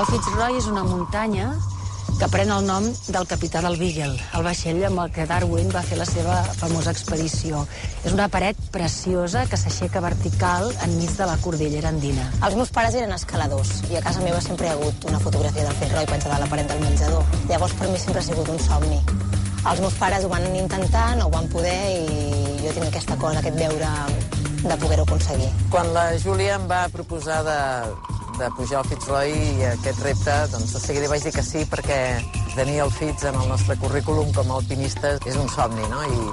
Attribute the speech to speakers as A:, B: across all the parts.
A: El Fitzroy és una muntanya que pren el nom del capità del Beagle, el vaixell amb el que Darwin va fer la seva famosa expedició. És una paret preciosa que s'aixeca vertical enmig de la cordillera andina.
B: Els meus pares eren escaladors i a casa meva sempre hi ha hagut una fotografia del Fitzroy penjada a la paret del menjador. Llavors per mi sempre ha sigut un somni. Els meus pares ho van intentar, no ho van poder i jo tinc aquesta cosa, aquest deure de poder-ho aconseguir.
C: Quan la Júlia em va proposar de, de pujar al Fitzroy i aquest repte, doncs de seguida vaig dir que sí perquè tenir el Fitz en el nostre currículum com a alpinista és un somni, no? I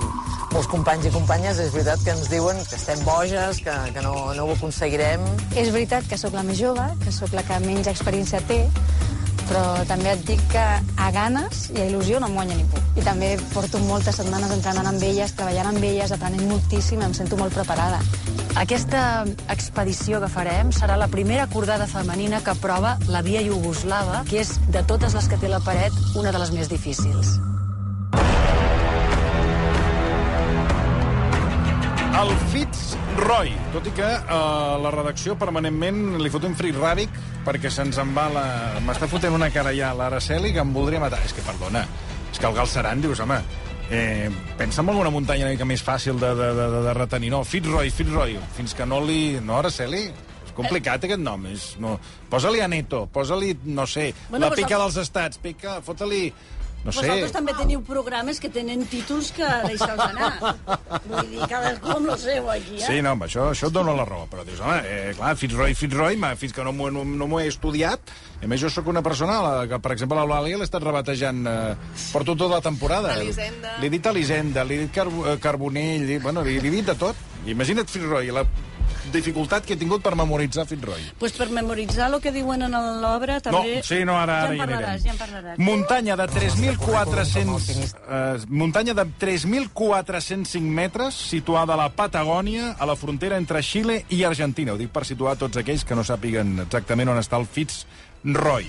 C: molts companys i companyes és veritat que ens diuen que estem boges, que, que no, no ho aconseguirem.
D: És veritat que sóc la més jove, que sóc la que menys experiència té, però també et dic que a ganes i a il·lusió no em guanya ningú. I també porto moltes setmanes entrenant amb elles, treballant amb elles, aprenent moltíssim, em sento molt preparada.
A: Aquesta expedició que farem serà la primera cordada femenina que prova la via iugoslava, que és, de totes les que té la paret, una de les més difícils.
E: El Fitzroy, tot i que eh, la redacció permanentment li fot un frit ràbic perquè se'ns en va la... M'està fotent una cara ja l'Araceli que em voldria matar. És que, perdona, és que el Galceran, dius, home, eh, pensa en alguna muntanya una mica més fàcil de, de, de, de retenir. No, Fitzroy, Fitzroy, fins que no li... No, Araceli, és complicat aquest nom. És, no. Posa-li Aneto, posa-li, no sé,
F: Bueno,
E: la
F: pues
E: pica
F: el-
E: dels estats, pica, fota-li... No sé.
F: Vosaltres també teniu programes que tenen títols que deixeu anar. Vull dir, cadascú amb el seu aquí, eh?
E: Sí, no, amb això, això et dono la raó, però dius, home, eh, clar, Fitzroy, Fitzroy, ma, fins que no m'ho no, no m'ho he estudiat, a més jo sóc una persona a la que, per exemple, l'Eulàlia l'he estat rebatejant eh, per tota la temporada.
G: Elisenda.
E: Li he dit Elisenda, li he dit Car eh, Carbonell, li, bueno, li, li he dit de tot. Imagina't Fitzroy, la dificultat que he tingut per memoritzar Fitzroy.
F: Pues per memoritzar el que diuen en l'obra,
E: No,
F: també...
E: sí, no, ara,
F: ja
E: ara
F: en parlaràs, ja en parlaràs.
E: Muntanya de
C: currículum com a
E: 3.400...
C: alpinista.
E: Eh, muntanya de 3.405 metres, situada a la Patagònia, a la frontera entre Xile i Argentina. Ho dic per situar tots aquells que no sàpiguen exactament on està el Fitzroy.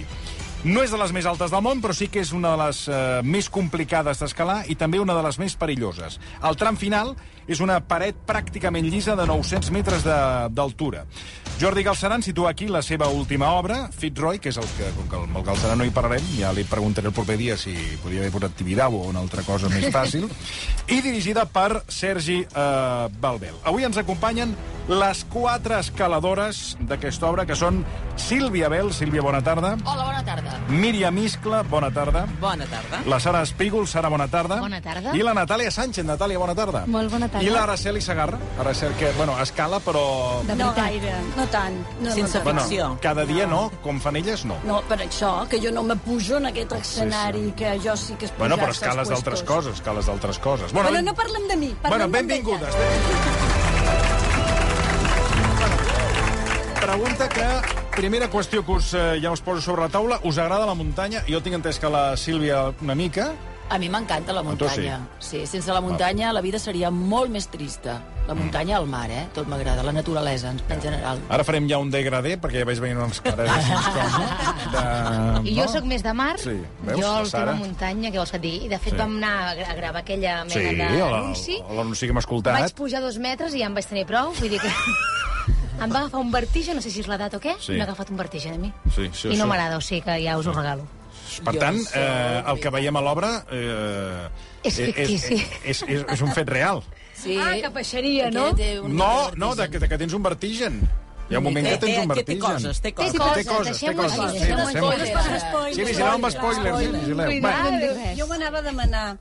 E: No és de les més altes del món, però sí que és una de les eh, més complicades d'escalar i també una de les més perilloses. El tram final és una paret pràcticament llisa de 900 metres de- d'altura. Jordi Galceran situa aquí la seva última obra, Fitzroy, que és el que, com que amb el Galceran no hi parlarem, ja li preguntaré el proper dia si podria haver posat Tibidabo o una altra cosa més fàcil, i dirigida per Sergi eh, Balbel. Avui ens acompanyen les quatre escaladores d'aquesta obra, que són Sílvia Bel. Sílvia, bona tarda.
G: Hola, bona tarda.
E: Míriam Iscla, bona tarda.
B: Bona tarda.
E: La Sara Espígol, Sara, bona tarda.
G: Bona tarda.
E: I la Natàlia Sánchez, Natàlia, bona tarda.
D: Molt bona tarda.
E: I l'Araceli Sagarra, Araceli, que, bueno, escala, però...
D: De
F: No
D: veritat.
F: gaire, no tant. No,
B: Sense
F: no, tant.
E: Bueno,
B: Ficció.
E: cada dia no, com fan elles, no.
F: No, per això, que jo no me pujo en aquest escenari, que jo sí que es
E: Bueno,
F: pujar-se
E: però
F: als
E: escales d'altres
F: puestos.
E: coses, escales d'altres coses. Bueno,
F: Bueno,
E: ben-
F: no parlem de mi,
E: bueno
F: parlem
E: benvingudes.
F: d'ella.
E: Bueno, Pregunta que, primera qüestió que us, eh, ja us poso sobre la taula, us agrada la muntanya? Jo tinc entès que la Sílvia una mica.
G: A mi m'encanta la
E: A tu sí.
G: muntanya. Sí, sense la muntanya la vida seria molt més trista.
E: Mm.
G: La muntanya al mar, eh? Tot m'agrada, la naturalesa, en, en general.
E: Ara farem ja un degradé, perquè ja vaig veient unes cares com, de...
H: I jo sóc més de mar,
E: Sí, veus,
H: jo
E: la Sara?
H: l'última muntanya, què vols que et digui? I de fet
E: Sí.
H: sí. vam anar a gra- a gravar aquella
E: Sí,
H: mena
E: a
H: d'anunci.
E: la- a l'anunci que hem
H: Vaig
E: escoltat.
H: pujar dos metres i ja em vaig tenir prou, vull dir que... em va agafar un vertigen, no sé si és l'edat o què,
E: Sí.
H: m'ha agafat un vertigen a mi.
E: Sí, sí,
H: I no
E: sí.
H: m'agrada, o sigui que ja us ho regalo.
E: Per
G: Jo
E: tant,
G: sóc-
E: eh, el que veiem a l'obra... Eh,
H: És fictici.
E: És, és, és, és un fet real.
G: Sí.
H: Ah, que peixeria,
G: Que
H: no?
G: té un-
E: No, no, de, que- de que tens un vertigen. Hi ha un moment que tens un
B: té
E: vertigen.
H: Té
E: Té coses,
H: coses,
E: té
H: deixem-ho
E: coses,
H: així,
E: sí,
H: deixem-ho
E: deixem-ho
H: així.
G: així.
F: Deixem-ho així.
E: Sí, vigileu amb spoilers, sí, vigileu.
D: Cuidado. no
E: Bueno,
F: Déu,
D: dic res.
F: Ah, jo m'anava a demanar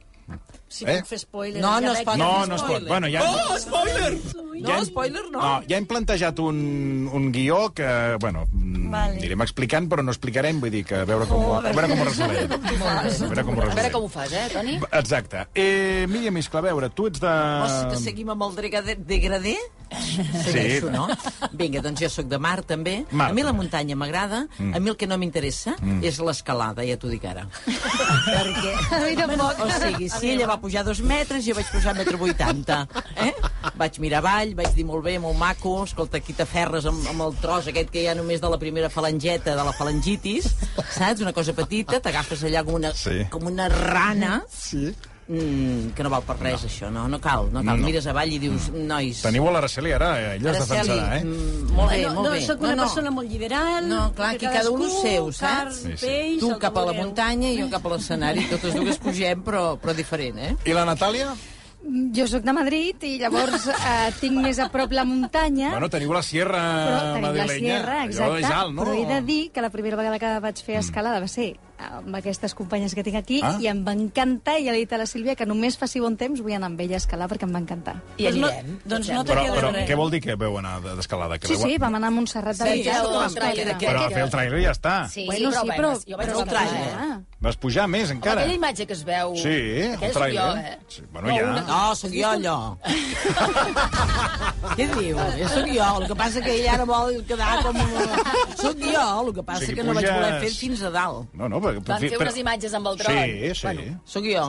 F: si
E: Eh?
F: puc fer spoilers.
B: No, no
F: veig
B: es pot.
F: que
E: no,
F: fem
E: no es pot.
F: spoilers.
E: Bueno, ja...
B: Oh, spoiler! No,
E: hem-
B: spoiler no.
E: no. Ja hem plantejat un, un guió que, bueno, vale.
F: Vale.
E: anirem explicant, però no explicarem, vull dir que a veure com, ho, a veure com ho resolem. A veure com ho
G: A veure
E: resolem.
G: com ho fas, eh, Toni?
E: Exacte. Eh, Míriam Iscla, a veure, tu ets de...
B: Vols que seguim amb el degradé? degradé? Segueixo, no? Vinga, doncs jo sóc de mar, també.
E: Mar,
B: a mi la
E: també.
B: muntanya m'agrada, a mi el que no m'interessa és l'escalada, ja t'ho dic ara. Perquè...
H: A mi tampoc.
B: O sigui, si ella va pujar dos metres, jo vaig pujar metro vuitanta. Eh? Vaig mirar avall, vaig dir molt bé, molt maco, escolta, aquí t'aferres amb, amb el tros aquest que hi ha només de la primera falangeta, de la falangitis, saps? Una cosa petita, t'agafes allà com una,
E: Sí.
B: com una rana,
E: Sí.
B: mm, que no val per res, no. això, no? No cal, no cal.
E: No. Mm.
B: No. Mires avall i dius, nois...
E: Teniu a l'Araceli ara, eh? ella es
B: Araceli,
E: defensarà, eh?
B: mm, Molt bé,
F: no,
B: molt
F: no,
B: bé.
F: sóc una persona molt liberal.
B: No, clar, aquí cada un ho seu, saps?
E: Sí,
F: Sí,
E: sí.
F: sí. Peix,
B: Tu
F: el que
B: cap a la
F: vulgueu.
B: muntanya i jo cap a l'escenari. Totes dues pugem, però, però diferent, eh?
E: I la Natàlia?
D: Jo sóc de Madrid i llavors eh, tinc més a prop la muntanya.
E: Bueno, teniu la sierra
D: però tenim la
E: madrilenya.
D: sierra,
E: Allò
D: exacte.
E: és alt, no? Mm.
D: Però he de dir que la primera vegada que vaig fer escalada va ser amb aquestes companyes que tinc aquí
E: Ah.
D: i em va encantar, i ja li he dit a la Sílvia que només faci bon temps vull anar amb ella a escalar perquè em va encantar.
A: I
F: Doncs no-
A: anirem.
F: doncs no
E: Però,
F: t'he de
E: però
F: res.
E: què vol dir que veu anar de- d'escalada? Que
D: Sí,
E: veu...
D: sí, vam anar a Montserrat de
A: Sí,
D: Vic,
A: ja ho
D: però vam
A: mostraré
D: pujar.
A: d'aquest.
E: Però a fer el trailer ja està.
H: Sí,
D: Bueno, sí,
A: però
D: però...
A: vaig- jo vaig
D: però eh?
A: al
D: es
A: trailer.
D: pujarà.
E: Vas pujar més, encara.
A: Aquella imatge que es veu...
E: Sí, el
A: aquella sóc
E: trailer.
A: jo, eh?
E: Sí, bueno, ja.
A: una-
B: No, Ah, sóc jo, allò. Què diu? Jo sóc jo. El que passa que ella ara vol quedar com... Una... Sóc jo, el que
E: O
B: passa
E: sigui,
B: que no vaig voler
E: puges-
B: fer fins a dalt.
E: No, no, perquè...
A: Van fer unes imatges amb el tron.
E: Sí, sí. Bueno.
B: Sóc jo.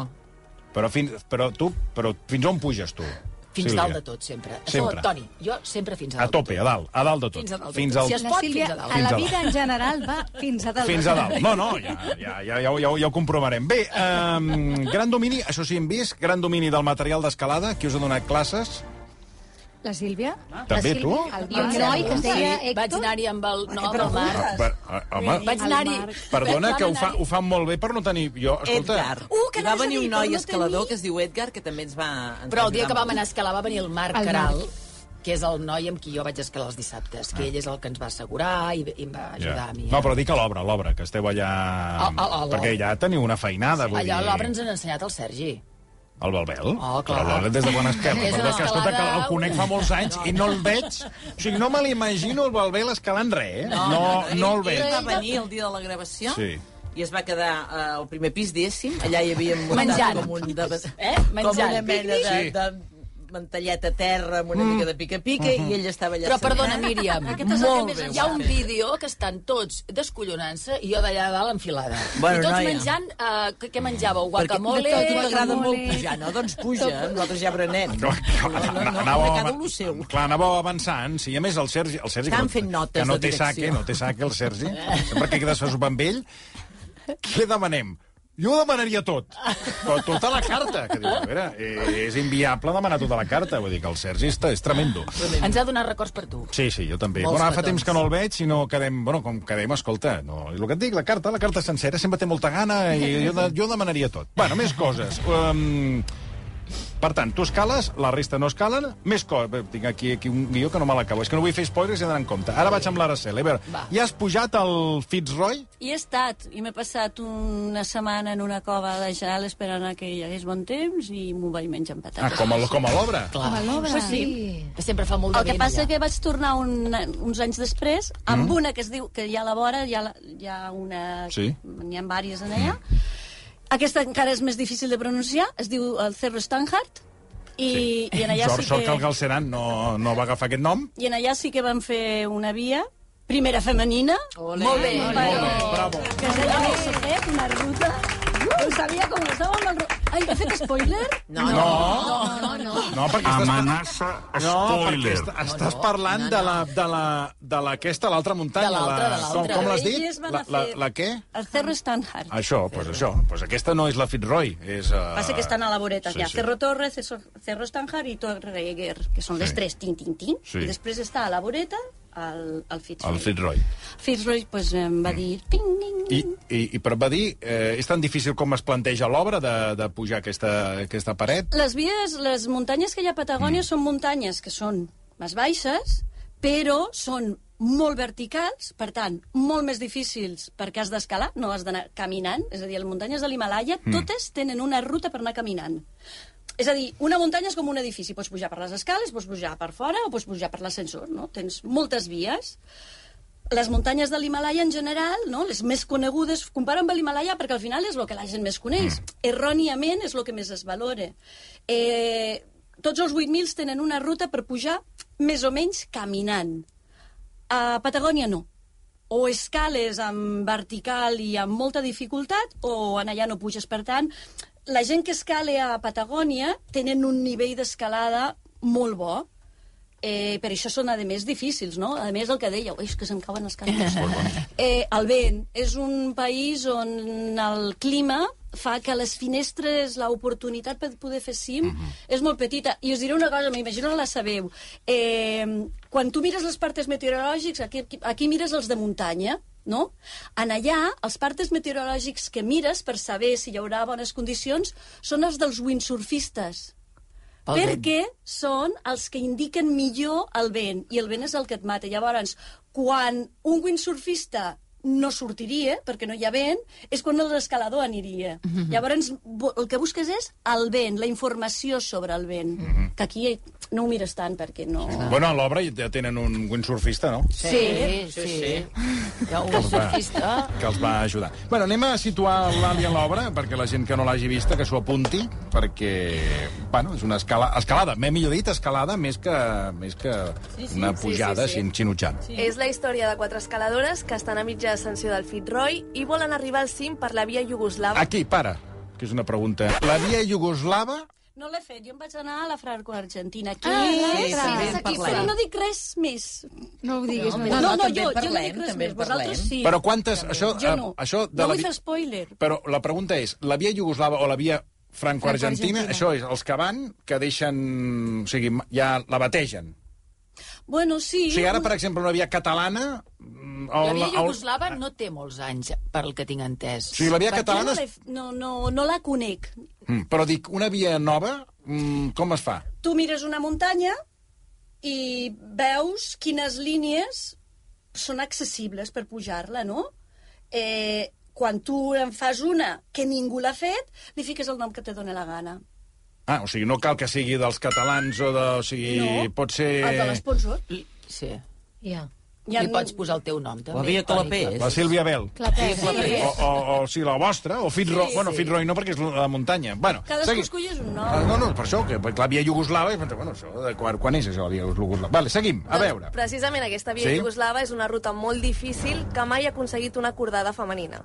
E: Però, fins, però tu, però fins on puges tu?
A: Fins
E: Sílvia?
A: dalt de tot, sempre.
E: Sempre.
A: Això, Toni, jo sempre fins a
E: A
A: dalt.
E: tope, a dalt, a dalt de tot.
A: Fins a dalt de
E: Fins
A: tot.
E: al,
A: Si es
D: La
A: pot
D: Sílvia,
A: fins a dalt.
D: a la
E: Fins a
D: vida en general, va fins a dalt.
E: fins a dalt. No, no, ja, ja, ja, ja, ho- ja, ho- ja ho comprovarem. Bé, um, gran domini, això sí, hem vist, gran domini del material d'escalada, qui us ha donat classes.
D: La Sílvia?
A: Ah.
E: També tu?
D: El
H: I un noi que es deia
A: Sí, vaig
H: Héctor...
A: anar-hi amb el... No, amb el Marc.
E: Ah, per, ah, home,
A: Vaig anar-hi...
E: perdona,
A: Vam
E: que ho, fa,
A: anar-hi.
E: ho fan molt bé per no tenir... Jo, escolta,
B: Edgar.
F: Uh, que
B: Hi va
F: anaves a
B: venir
F: dir,
B: un
F: però
B: noi
F: no
B: escalador
F: tenir-
B: que es diu Edgar, que també ens va... ens va
A: Però el dia que
B: ajudar
A: vam anar a escalar va venir el Marc
D: El
A: Caral, que és el noi amb qui jo vaig escalar els dissabtes, que ell és el que ens va assegurar i, i em va ajudar a mi.
E: Ah.
A: eh?
E: No, però dic a l'obra, a l'obra, que esteu allà...
A: A- a- a l'obra.
E: perquè ja teniu una feinada, vull
A: Allà
E: dir...
A: l'obra ens han ensenyat el Sergi.
E: El Balbel?
A: Oh, clar.
E: Però l'obra des de quan es queda?
A: És
E: Perdó, és que, escolta, que el
A: l'escalada-
E: conec fa molts anys i no el veig. O sigui, no me l'imagino el Balbel escalant res, eh? No, no, el
B: Ell
E: veig.
B: va venir el dia de la gravació
E: Sí.
B: i es va quedar eh, al primer pis, diguéssim. Allà hi havíem muntat
A: Menjant.
B: com, un de,
A: Eh?
B: com
A: Menjant.
B: una mena de,
E: Sí.
B: de mantelleta a terra amb una mica de pica-pica i ell estava allà
A: Mm. Mm-hmm. Però
B: assegut.
A: perdona, Míriam,
F: Aquest és el que
A: molt
F: més
A: bé.
F: ens
A: Hi ha un
F: agrada.
A: vídeo que estan tots descollonant-se i jo d'allà dalt enfilada.
B: Bueno,
A: I tots
B: noia.
A: menjant... Eh, què- què menjàveu?
B: Perquè
A: Guacamole?
B: a tu t'agrada
A: guacamole.
B: molt pujar, no? Doncs puja, nosaltres ja aprenem.
E: No, clar,
B: no, no,
E: anàveu
B: cada
E: av-
B: un lo seu.
E: Clar, anàveu avançant. Sí, a més, el Sergi... El Sergi
B: Estan
E: que,
B: fent notes
E: que no
B: de
E: té
B: direcció.
E: saque, no té saque, el Sergi. Sempre que queda sols amb ell, què demanem? Jo ho demanaria tot, però tota la carta. Que diu, a veure, eh, és inviable demanar tota la carta. Vull dir que el Sergi està, és tremendo.
A: Ens ha donat records per tu.
E: Sí, sí, jo també.
A: Molts
E: bueno, ara fa
A: petons.
E: temps que no el veig i no quedem... Bueno, com quedem, escolta, no... El que et dic, la carta, la carta sencera, sempre té molta gana i jo, de, jo demanaria tot. Bueno, més coses. Um, per tant, tu escales, la resta no escalen, més coses. Tinc aquí, aquí un guió que no me l'acabo. És que no vull fer spoilers i anar en compte. Ara vaig amb l'Araceli. A veure,
A: Va.
E: ja has pujat al Fitzroy?
F: Hi he estat, i m'he passat una setmana en una cova de gel esperant a que hi hagués bon temps i m'ho vaig menjar amb
E: Ah,
F: patates.
E: com a, com a l'obra.
A: Clar,
D: l'obra.
F: Pues sí.
A: que sempre fa molt de
F: El que
A: vent,
F: passa
A: allà.
F: que vaig tornar un, uns anys després amb mm. una que es diu que hi ha a la vora, hi ha, la- hi ha una...
E: Sí. Mm.
F: N'hi ha vàries en ella. Aquesta encara és més difícil de pronunciar, es diu el Cerro Stanhart, i, i en allà
E: sort,
F: sí
E: sort que el
F: que...
E: Galceran no, no va agafar aquest nom.
F: I en allà sí que van fer una via, primera femenina,
A: Molt bé.
E: Molt bé, bravo.
F: que es deia Montserrat, una ruta... No sabia com estava amb el... ro- Ai, he fet spoiler?
B: No, no,
E: No,
H: No, no, no.
E: no perquè estàs...
I: Amenaça
E: No, perquè
I: spoiler.
E: est estàs parlant de la, de la, de la, aquesta, l'altra muntanya.
A: De l'altra, de l'altra.
E: Com, com l'has
F: Però
E: dit?
F: elles van
E: La,
F: a
E: la,
F: fer-
E: la què?
F: El Cerro Stanhart.
E: Això, doncs això. Pues aquesta no és la Fitzroy. És, uh...
F: Pasa que están a la voreta,
E: Sí,
F: sí, ja.
E: sí.
F: Sí. Cerro Torres, Cerro, Cerro Estanjar i Torre Eger, que són
E: Sí.
F: sí. les tres, tin, tin, tin.
E: Sí.
F: I després està a la voreta el, el Fitzroy.
E: El Fitzroy. Mm.
F: Fitzroy pues, em va dir... Ting, ting,
E: I,
F: ting.
E: i, i però et va dir, eh, és tan difícil com es planteja l'obra de, de pujar aquesta, aquesta paret?
F: Les vies, les muntanyes que hi ha a Patagònia mm. són muntanyes que són més baixes, però són molt verticals, per tant, molt més difícils perquè has d'escalar, no has d'anar caminant, és a dir, les muntanyes de l'Himalaya mm. totes tenen una ruta per anar caminant. És a dir, una muntanya és com un edifici, pots pujar per les escales, pots pujar per fora o pots pujar per l'ascensor, no? Tens moltes vies. Les muntanyes de l'Himalaya en general, no? les més conegudes, comparen amb l'Himalaya perquè al final és el que la gent més coneix. Erròniament és el que més es valora. Eh, tots els 8.000 tenen una ruta per pujar més o menys caminant. A Patagònia no. O escales amb vertical i amb molta dificultat, o en allà no puges. Per tant, la gent que escale a Patagònia tenen un nivell d'escalada molt bo. Eh, per això són, a més, difícils, no? A més, el que dèieu, "Ui, és que se'm cauen els cabells. Eh, el vent és un país on el clima fa que les finestres, l'oportunitat per poder fer cim, és molt petita. I us diré una cosa, m'imagino que la sabeu. Eh, quan tu mires les partes meteorològics, aquí, aquí, aquí mires els de muntanya, no? En allà, els partes meteorològics que mires per saber si hi haurà bones condicions són els dels windsurfistes.
A: Pel vent.
F: perquè són els que indiquen millor el vent, i el vent és el que et mata. Llavors, quan un windsurfista no sortiria, perquè no hi ha vent, és quan l'escalador aniria. Mm -hmm. Llavors, bu- el que busques és el vent, la informació sobre el vent, mm
E: Mhm.
F: -hmm. que aquí no ho mires tant, perquè no...
E: Bueno, a l'obra ja tenen un windsurfista, no?
A: Sí, sí. sí. Hi ha un surfista...
E: que els va ajudar. Bueno, anem a situar l'Ali a l'obra, perquè la gent que no l'hagi vista que s'ho apunti, perquè, bueno, és una escala, escalada, m'he millor dit escalada, més que, més que
I: sí,
E: una
I: sí, sí,
E: pujada
I: sí.
E: sí, sí, sí. xinutxant. Sí.
I: És la història de quatre escaladores que estan a mitja ascensió del Fitzroy i volen arribar al cim per la via iugoslava.
E: Aquí, para, que és una pregunta. La via iugoslava...
F: No l'he fet, jo em vaig anar a la Franco-Argentina. Aquí...
D: l'altra. Sí, també en
F: aquí, però no dic res més.
D: No ho diguis
F: No,
D: més.
F: no,
B: també
F: jo,
B: en
F: jo no dic
B: parlem,
F: res
B: també en
F: més. Vosaltres
B: parlem.
F: sí.
E: Però quantes... Això,
F: Jo no.
E: eh, això
F: no
E: de la
F: vull
E: vi-
F: fer spoiler.
E: Però la pregunta és, la via iugoslava o la via franco-argentina,
D: Franco-argentina.
E: això és, els que van, que deixen... O sigui, ja la bategen.
F: Bueno, sí.
E: O sigui, ara, per exemple, una via catalana... mm, o
A: La via
E: o-
A: iugoslava no té molts anys, pel que tinc entès.
E: O sigui, la via
F: Per què
E: catalana...
F: no l'he- No, no, no la conec.
E: Mm, però dic, una via nova, mm, com es fa?
F: Tu mires una muntanya i veus quines línies són accessibles per pujar-la, no? Eh, quan tu en fas una que ningú l'ha fet, li fiques el nom que te dóna la gana.
E: Ah, o sigui, no cal que sigui dels catalans o de... O sigui,
F: No,
E: pot ser...
F: El
B: Eh,
F: de l'esponsor.
A: Li- Sí.
H: Ja.
F: Hi ha-
A: Li pots posar el teu nom, també.
B: La via Clapés.
E: La Sílvia Bel.
D: Clapés.
E: O, o, o sí, la vostra, o Fitzroy, sí, bueno, sí. Fitzroy no, perquè és la muntanya. Bueno,
F: Cadascú escollis un nom.
E: Ah, No, no, per això, que perquè la via iugoslava... i pensava, Bueno, això, de quan, quan és això, la via iugoslava? Vale, seguim, a veure.
I: Doncs, precisament aquesta via sí?
E: Sí?
I: iugoslava és una ruta molt difícil que mai ha aconseguit una acordada femenina.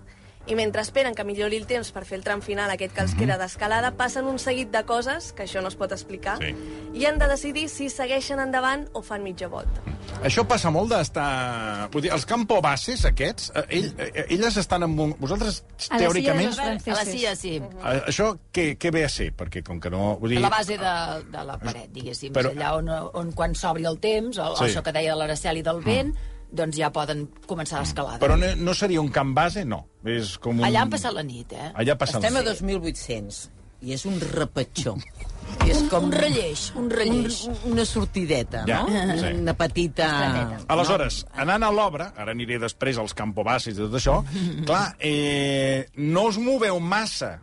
I: I mentre esperen que millori el temps per fer el tram final aquest que els
E: Mhm.
I: queda d'escalada, passen un seguit de coses, que això no es pot explicar,
E: Sí.
I: i han de decidir si segueixen endavant o fan mitja volta.
E: Això passa molt d'estar... Vull dir, els campobases aquests, eh, ell, eh, elles estan amb un... Vosaltres,
D: A la silla
E: teòricament...
D: dels
A: A la
D: francesos.
A: silla, sí.
E: eh, Això què, què ve a ser? Perquè com que no... Vull
A: A
E: dir,
A: la base de, de la paret, diguéssim.
E: Però-
A: Però... Allà on, on quan s'obri el temps, o,
E: Sí.
A: sí. això que deia l'Araceli del vent, doncs ja poden començar l'escalada.
E: Però no, no seria un camp base, no. És com un...
A: Allà han passat la nit, eh?
E: Allà passa
B: Estem a
E: la...
B: 2.800 i és un repatxó. I és com...
A: Un relleix, un relleix.
B: Un, una sortideta,
E: Ja,
B: no?
E: sí.
B: Una petita...
E: Ah. Aleshores, anant a l'obra, ara aniré després als campobasis i tot això, clar, eh, no us moveu massa.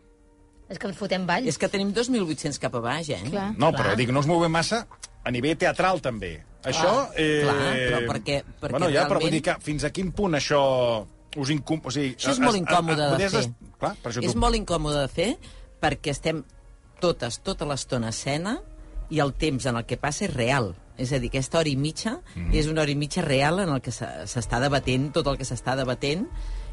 H: És que ens fotem ball.
B: És que tenim 2.800 cap a baix, eh?
D: Clar.
E: No, però dic, no us moveu massa a nivell teatral, també. Això... Eh,
B: clar, però perquè- perquè
E: bueno, ja, però
B: realment-
E: vull dir que fins a quin punt això us incom... O sigui,
B: Això és molt incòmode de
E: podries
B: fer.
E: es- Clar, per això
B: És molt incòmode de fer perquè estem totes, tota l'estona a escena i el temps en el que passa és real. És a dir, aquesta hora i mitja
E: Mm-hmm.
B: mm. és una hora i mitja real en el que s'ha- s'està debatent tot el que s'està debatent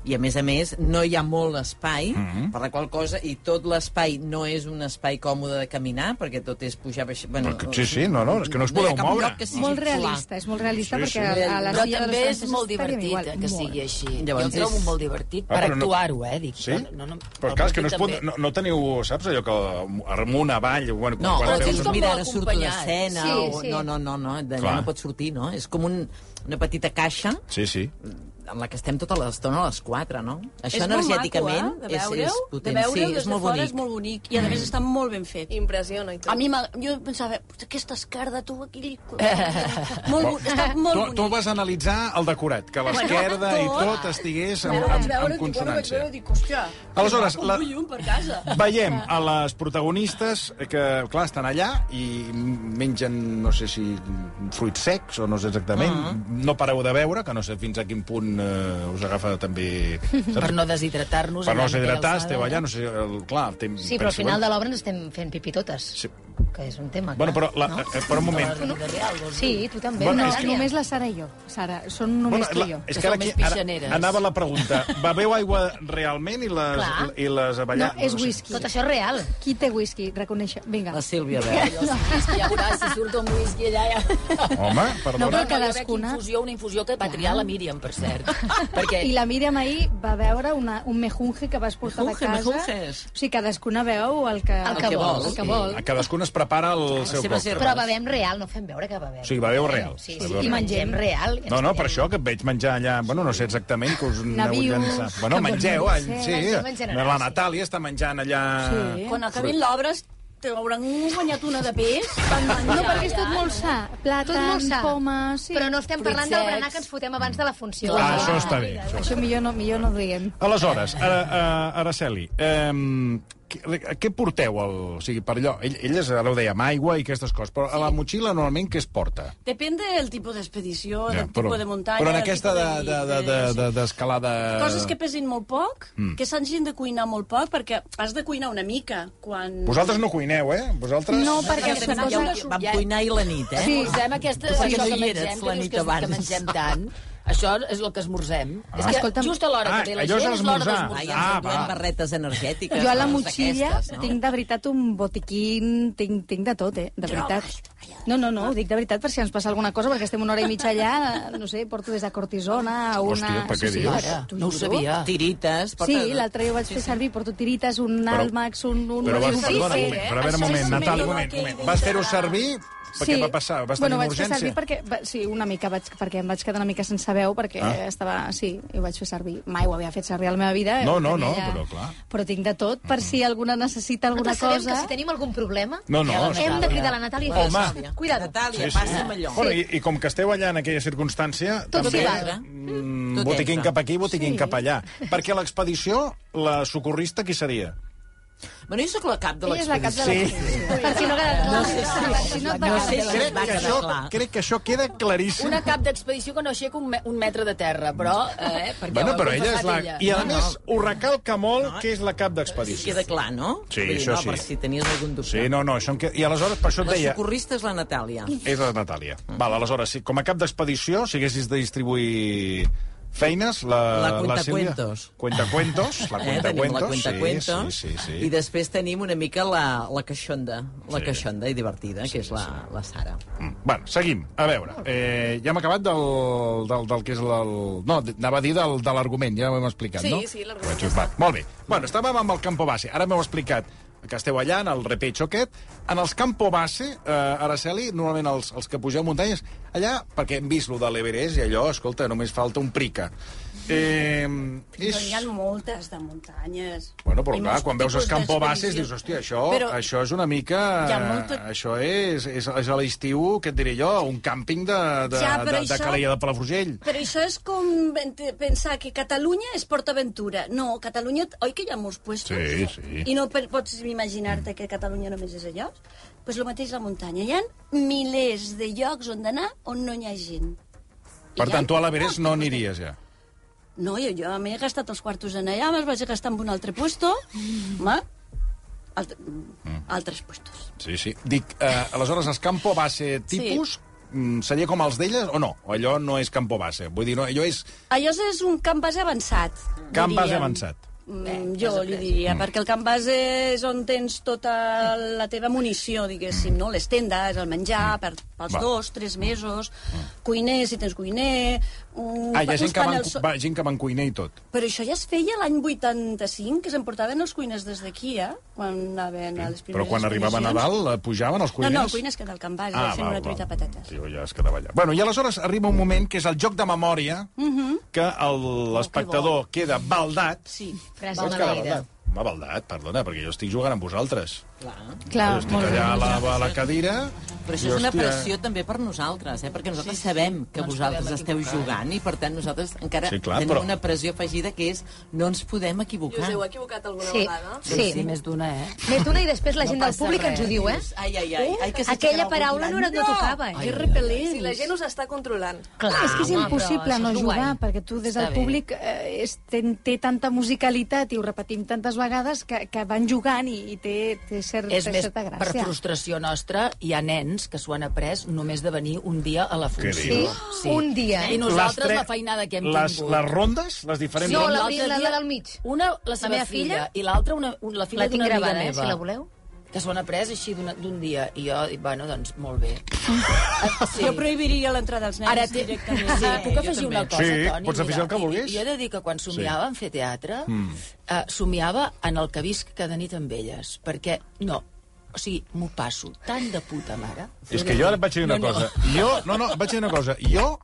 B: i, a més a més, no hi ha molt espai
E: Mm-hmm.
B: mm. per la qual cosa, i tot l'espai no és un espai còmode de caminar perquè tot és pujar... Baix... Bueno,
E: Perquè- sí, sí, no, no, és que no us podeu
B: hi ha cap
E: moure.
B: lloc que sigui
D: Molt
B: clar.
D: realista, és molt realista
E: Sí, sí.
D: perquè a- a la
A: Però
D: silla dels
A: també és
D: francesos
A: molt
D: estaríem
A: divertit
D: igual.
A: eh, que
D: Molt.
A: sigui així.
B: Llavors
A: jo el trobo
B: és-
A: molt divertit
E: Ah,
A: per
E: però no-
A: actuar-ho, eh? Dic,
E: Sí?
A: No, no,
E: però
A: el
E: clar, és que no, es
A: partit
E: pot,
A: també.
E: no, no teniu, saps, allò que amunt, avall... Bueno,
B: No,
E: quan
B: o
E: veus
A: tens
B: dius,
E: una-
A: com
B: mira,
A: molt
B: ara surto
A: acompanyat.
B: d'escena,
D: Sí,
B: o...
D: sí.
B: No, no, no, no d'allà
E: Clar.
B: no pot sortir, no? És com un, una petita caixa
E: Sí, sí.
B: en la que estem tota l'estona a les 4, no? Això
F: És molt
B: energèticament
F: maco, eh? de
B: és,
F: veure-ho,
B: és potent.
F: De veure-ho
B: sí,
F: des
B: és molt
F: de fora
B: bonic.
F: és molt bonic. I a més està molt ben fet.
I: Impressiona i tot.
F: A mi m'ag- jo pensava, "Puta, aquesta esquerda, tu, aquí... molt, bo- està molt
E: Tu,
F: bonic.
E: tu vas analitzar el decorat, que l'esquerda i
F: tot.
E: tot estigués
F: Bueno,
E: en,
F: vaig
E: en, en
F: veure, dic, bueno, vaig
E: consonància.
F: veure, dic, hòstia,
E: Aleshores,
F: un
E: la-
F: llum per casa.
E: Veiem a les protagonistes eh, que, clar, estan allà i mengen, no sé si fruits secs o no sé exactament.
F: Ah.
E: No pareu de veure, que no sé fins a quin punt eh, us agafa també... saps?
A: Per no deshidratar-nos.
E: per no
A: anant ben
E: deshidratar,
A: alçada.
E: esteu allà, no sé, el, clar... El temps,
H: Sí, però al final de l'obra no estem fent pipí totes.
E: Sí,
J: que és un tema, clar.
E: Bueno, però, la,
J: No?
E: eh, per un moment...
H: Sí, tu també.
E: Bueno,
H: no,
E: és que
H: Dània?
D: Només la Sara i jo, Sara. Són només
E: Bueno,
D: tu i
E: la,
D: jo.
E: és
A: que
E: que ara
A: som
E: aquí
A: més
E: ara,
A: pixaneres.
E: anava la pregunta. Beveu aigua realment i les,
H: Clar.
E: i les
D: No,
E: avellades?
D: és whisky.
H: Tot això és real.
D: Qui té whisky? Reconeixer. Vinga.
B: La Sílvia Bell.
A: Jo, si ja veuràs, si surt un whisky allà... Ja...
E: Home,
D: No,
E: perdona.
D: però
A: Bueno,
D: cadascuna-
A: Hi va haver aquí infusió, una infusió que va triar la Míriam, per cert. Perquè
D: I la Míriam ahir va veure una, un mejunje que vas portar
B: Mejunje,
D: de casa.
B: mejunjes.
D: O sigui, cadascuna veu el que,
H: El que vol.
D: El que vol.
E: A cadascú es prepara el seu
B: seva
E: còctel.
H: Però
B: Vas.
H: bevem real, no fem veure que bevem.
E: O sigui, beveu real.
H: Sí,
E: Beveu
H: sí,
E: real.
H: i mengem real. i ens
E: No, no, per
H: mengem.
E: això que et veig menjar allà... Bueno, no sé exactament que us aneu
D: Nabius,
E: llançant. Bueno,
D: que
E: mengeu,
D: vols
E: all,
D: menjar,
E: sí.
H: mengem en general,
E: La
H: sí.
E: Natàlia està menjant allà...
D: Sí.
F: Quan acabin l'obres, t'hauran guanyat una de pes.
D: No, perquè és tot molt sa.
H: Tot molt
D: Plàtan,
H: sa.
D: poma... Sí.
H: Però no estem parlant del berenar que ens fotem abans de la funció.
E: Ah, això està bé. Això
D: Això millor no, millor no ho diguem.
E: Aleshores, ara, a- Araceli, um, què, què porteu? El, o sigui, per allò, ell, elles ara ho dèiem, aigua i aquestes coses, però a la motxilla normalment què es porta?
F: Depèn del tipus d'expedició, del
E: però,
F: tipus de muntanya...
E: però en
F: del
E: aquesta
F: tipus
E: d'escalada... De, de, de, de, d'escalada...
F: Coses que pesin molt poc, mm. que s'hagin de cuinar molt poc, perquè has de cuinar una mica quan...
E: Vosaltres no cuineu, eh? Vosaltres...
D: No, perquè suposa...
B: Vam cuinar i la nit, eh?
A: sí. esmorzem aquesta...
B: Perquè
A: això
B: no
A: que
B: hi eres
A: mengem,
B: la
A: que dius
B: nit
A: que,
B: abans.
A: que mengem tant. Això és el que esmorzem. Ah. És que
D: Escolta'm.
A: just a l'hora
E: Ah,
A: que ve la
E: allò és
A: gent és l'hora
E: esmorzar.
B: Ai,
A: d'esmorzar.
B: ens
E: Ah,
B: ah,
E: va.
B: barretes energètiques.
D: Jo a la
B: coses
D: motxilla
B: d'aquestes,
D: tinc de veritat un botiquín, tinc, tinc de tot, eh? De veritat. No, no, no, ho dic de veritat per si ens passa alguna cosa, perquè estem una hora i mitja allà, no sé, porto des de cortisona a una...
E: Hòstia, per què
D: Sí, sí,
E: dius?
D: ara, t'ho
A: No ho
D: juro.
A: sabia.
B: Tirites.
D: Sí,
B: porta-
D: l'altre dia ho vaig fer servir, porto tirites, un
E: Però-
D: Almax, un... un
E: Però, vas,
D: un-
E: perdona, un
D: eh?
E: moment, però a veure, un moment, Natàlia, un moment, un moment. Vas fer-ho servir perquè va passar, vas
D: bueno,
E: tenir una
D: vaig fer servir
E: urgència.
D: perquè, va, sí, una mica, vaig, perquè em vaig quedar una mica sense veu, perquè
E: Ah.
D: ah. estava... Sí, i ho vaig fer servir. Mai ho havia fet servir a la meva vida.
E: No,
D: ho
E: no,
D: tenia
E: no, però clar.
D: Però tinc de tot, per si alguna
H: Nosaltres
D: necessita alguna
H: sabem que
D: cosa...
H: si tenim algun problema,
E: No, no,
H: hem de cridar la Natàlia i
E: Home.
H: fer Cuidado.
B: Natàlia,
E: Sí, sí.
B: passa'm allò.
E: Bueno, i, I com que esteu allà en aquella circumstància...
H: Tot s'hi
E: també,
B: val.
E: mm,
B: Tot
E: botiquín
B: entra.
E: cap aquí, botiquín sí. cap allà. Perquè l'expedició, la socorrista, qui seria?
B: Bueno, jo sóc la cap de
D: Ella és la cap de
B: l'expedició.
D: la Per si no queda... No sé si... no et va
B: No
D: quedar
B: sé
D: clar.
B: si
E: Crec
B: va
E: que,
B: quedar
E: això,
B: clar.
E: crec que això queda claríssim.
A: Una cap d'expedició que no aixeca un, me un metre de terra, però... Eh, perquè
E: Bueno,
A: ho ha
E: però ella és
A: confessat
E: la...
A: ella.
E: I a més, ho recalca molt
B: No.
E: que és la cap d'expedició.
B: Queda clar, no?
E: Sí,
B: Vull dir,
E: això
B: no,
E: sí.
B: Per si tenies algun dubte.
E: Sí, no, no, això em queda... I aleshores, per això et
B: La
E: deia...
B: socorrista és la Natàlia.
E: És la Natàlia. Val, aleshores, si com a cap d'expedició, si haguessis de distribuir feines, la,
B: La
E: Sílvia-
B: cuentacuentos.
E: Cuentacuentos, la
B: Eh, tenim la
E: cuentacuentos.
B: cuenta cuentos,
E: sí, sí, sí, sí.
B: i després tenim una mica la, la caixonda, la
E: Sí.
B: caixonda i divertida, que és la, la Sara.
E: Mm. Bueno, seguim. A veure, eh, ja hem acabat del, del, del que és el... No, anava a dir del, de l'argument, ja ho hem explicat,
I: Sí,
E: no?
I: sí, l'argument
E: ja està. Molt bé. Bueno, estàvem amb el campo base. Ara m'heu explicat que esteu allà, en el repecho aquest. En els campo base, eh, Araceli, normalment els, els que pugeu muntanyes, allà, perquè hem vist lo de l'Everest i allò, escolta, només falta un prica. Eh,
F: Però
E: és...
F: n'hi ha moltes de muntanyes.
E: Bueno, però
F: I
E: clar,
F: molts
E: quan veus
F: tipus
E: els campo bases
F: d'expedició.
E: dius, hòstia, això, però...
F: Però
E: això és una mica...
F: Hi ha molta-
E: Això és, és, és a l'estiu, què et diré jo, un càmping de, de,
F: Ja,
E: ja, de,
F: però
E: de
F: això-
E: Calella de Palafrugell.
F: Però això és com ent- pensar que Catalunya és PortAventura. No, Catalunya... Oi que hi ha molts puestos?
E: Sí, sí.
F: I no per- pots imaginar-te que Catalunya només és a llocs? Doncs pues el mateix la muntanya. Hi ha milers de llocs on anar on no hi ha gent. I
E: Per
F: hi ha
E: tant, tu a l'Everest
F: molts
E: no
F: tipus de-
E: aniries ja.
F: No, jo, jo m'he gastat els quartos en allà, me'ls vaig gastar en un altre puesto,
E: Mm.
F: home, alt altres puestos.
E: Sí, sí. Dic, eh, aleshores, els campo base tipus sí. seria com els d'elles o no? O allò no és campo base? Vull dir, no, allò és
F: Allò és un camp base avançat,
E: camp base
F: diríem.
E: avançat.
F: Mm, jo li diria, perquè el camp base és on tens tota la teva munició, diguéssim, no? Les tendes, el menjar, per, pels
E: Mm. Va. Mm.
F: dos, tres mesos, cuiner, si tens cuiner... Un,
E: Ah, hi ha gent
F: uns
E: que, van,
F: panels-
E: va, gent que van cuiner i tot.
F: Però això ja es feia l'any 85, que s'emportaven els cuiners des d'aquí, eh? Quan anaven a les primeres
E: Però quan arribava
F: expedicions.
E: Nadal eh, pujaven els cuiners?
F: No, no, el cuiner es queda al camp base fent una truita de patates.
E: Ah, Diu, ja es quedava allà. Bueno, i aleshores arriba un moment que és el joc de memòria que el- l'espectador queda baldat.
F: Sí.
H: Frase
E: Vols
H: de
E: quedar
H: la vida.
E: baldat? Home, baldat, perdona, perquè jo estic jugant amb vosaltres.
D: Clar,
E: jo estic
D: molt bé.
E: allà a la, a la cadira...
B: Però això
E: i,
B: és una
E: hòstia,
B: pressió també per nosaltres, eh? perquè nosaltres sabem que vosaltres esteu jugant i, per tant, nosaltres encara
E: Sí, clar,
B: tenim
E: però-
B: una pressió afegida que és no ens podem
I: I us
B: equivocar.
F: Ah.
I: heu equivocat alguna
H: Sí,
I: vegada?
H: sí.
A: Sí, més d'una, eh?
H: Més d'una i després la gent del
B: passa
H: públic
B: res.
H: ens ho diu, eh?
B: Ai, ai, ai. ai que s'aixecarà
H: Aquella
B: algú
H: paraula no,
B: mirant.
H: era- no tocava,
B: Ai,
H: eh?
F: Que
B: ai, ai.
F: repel·lent.
I: Si la gent us està controlant.
H: Clar,
D: És que és
H: home,
D: impossible
H: però
D: no
H: això és lo guai.
D: jugar, perquè tu des
A: Està
D: del
A: bé.
D: públic eh, és, té, té tanta musicalitat i ho repetim tantes vegades que, que van jugant i, i té, té cert,
A: és més
D: certa
A: per
D: gràcia.
A: frustració nostra, hi ha nens que s'ho han après només de venir un dia a la
E: Què
A: funció.
E: dius?
H: Un dia. eh?
A: I nosaltres
E: tre-
A: la feinada que hem
E: les,
A: tingut.
E: Les rondes? Les diferents
H: No,
E: rondes?
H: la,
A: L'altre
H: la,
A: dia-
H: la del mig.
A: Una, la seva
H: meva
A: filla,
H: filla.
A: i l'altra, una, un- la filla
H: La tinc
A: d'una amiga
H: gravada, eh,
A: meva.
H: si la voleu.
A: que s'ho han après així d'una- d'un dia. I jo, dic, bueno, doncs, molt bé. Ah,
F: Sí. Jo prohibiria l'entrada dels nens
A: Ara
F: Ara
A: té...
F: directament. Eh,
A: Sí, puc
B: jo
A: afegir
B: també.
A: una cosa,
E: Sí,
A: Toni?
E: pots afegir el que
A: Mira,
E: vulguis. Mm.
A: Jo he de dir que quan somiava en fer teatre, eh, somiava en el que visc cada nit amb elles, perquè, no, o sigui, m'ho passo tan de puta mare.
E: És que jo ara et vaig dir una
A: No, no.
E: cosa. Jo, no, no, et vaig dir una cosa. Jo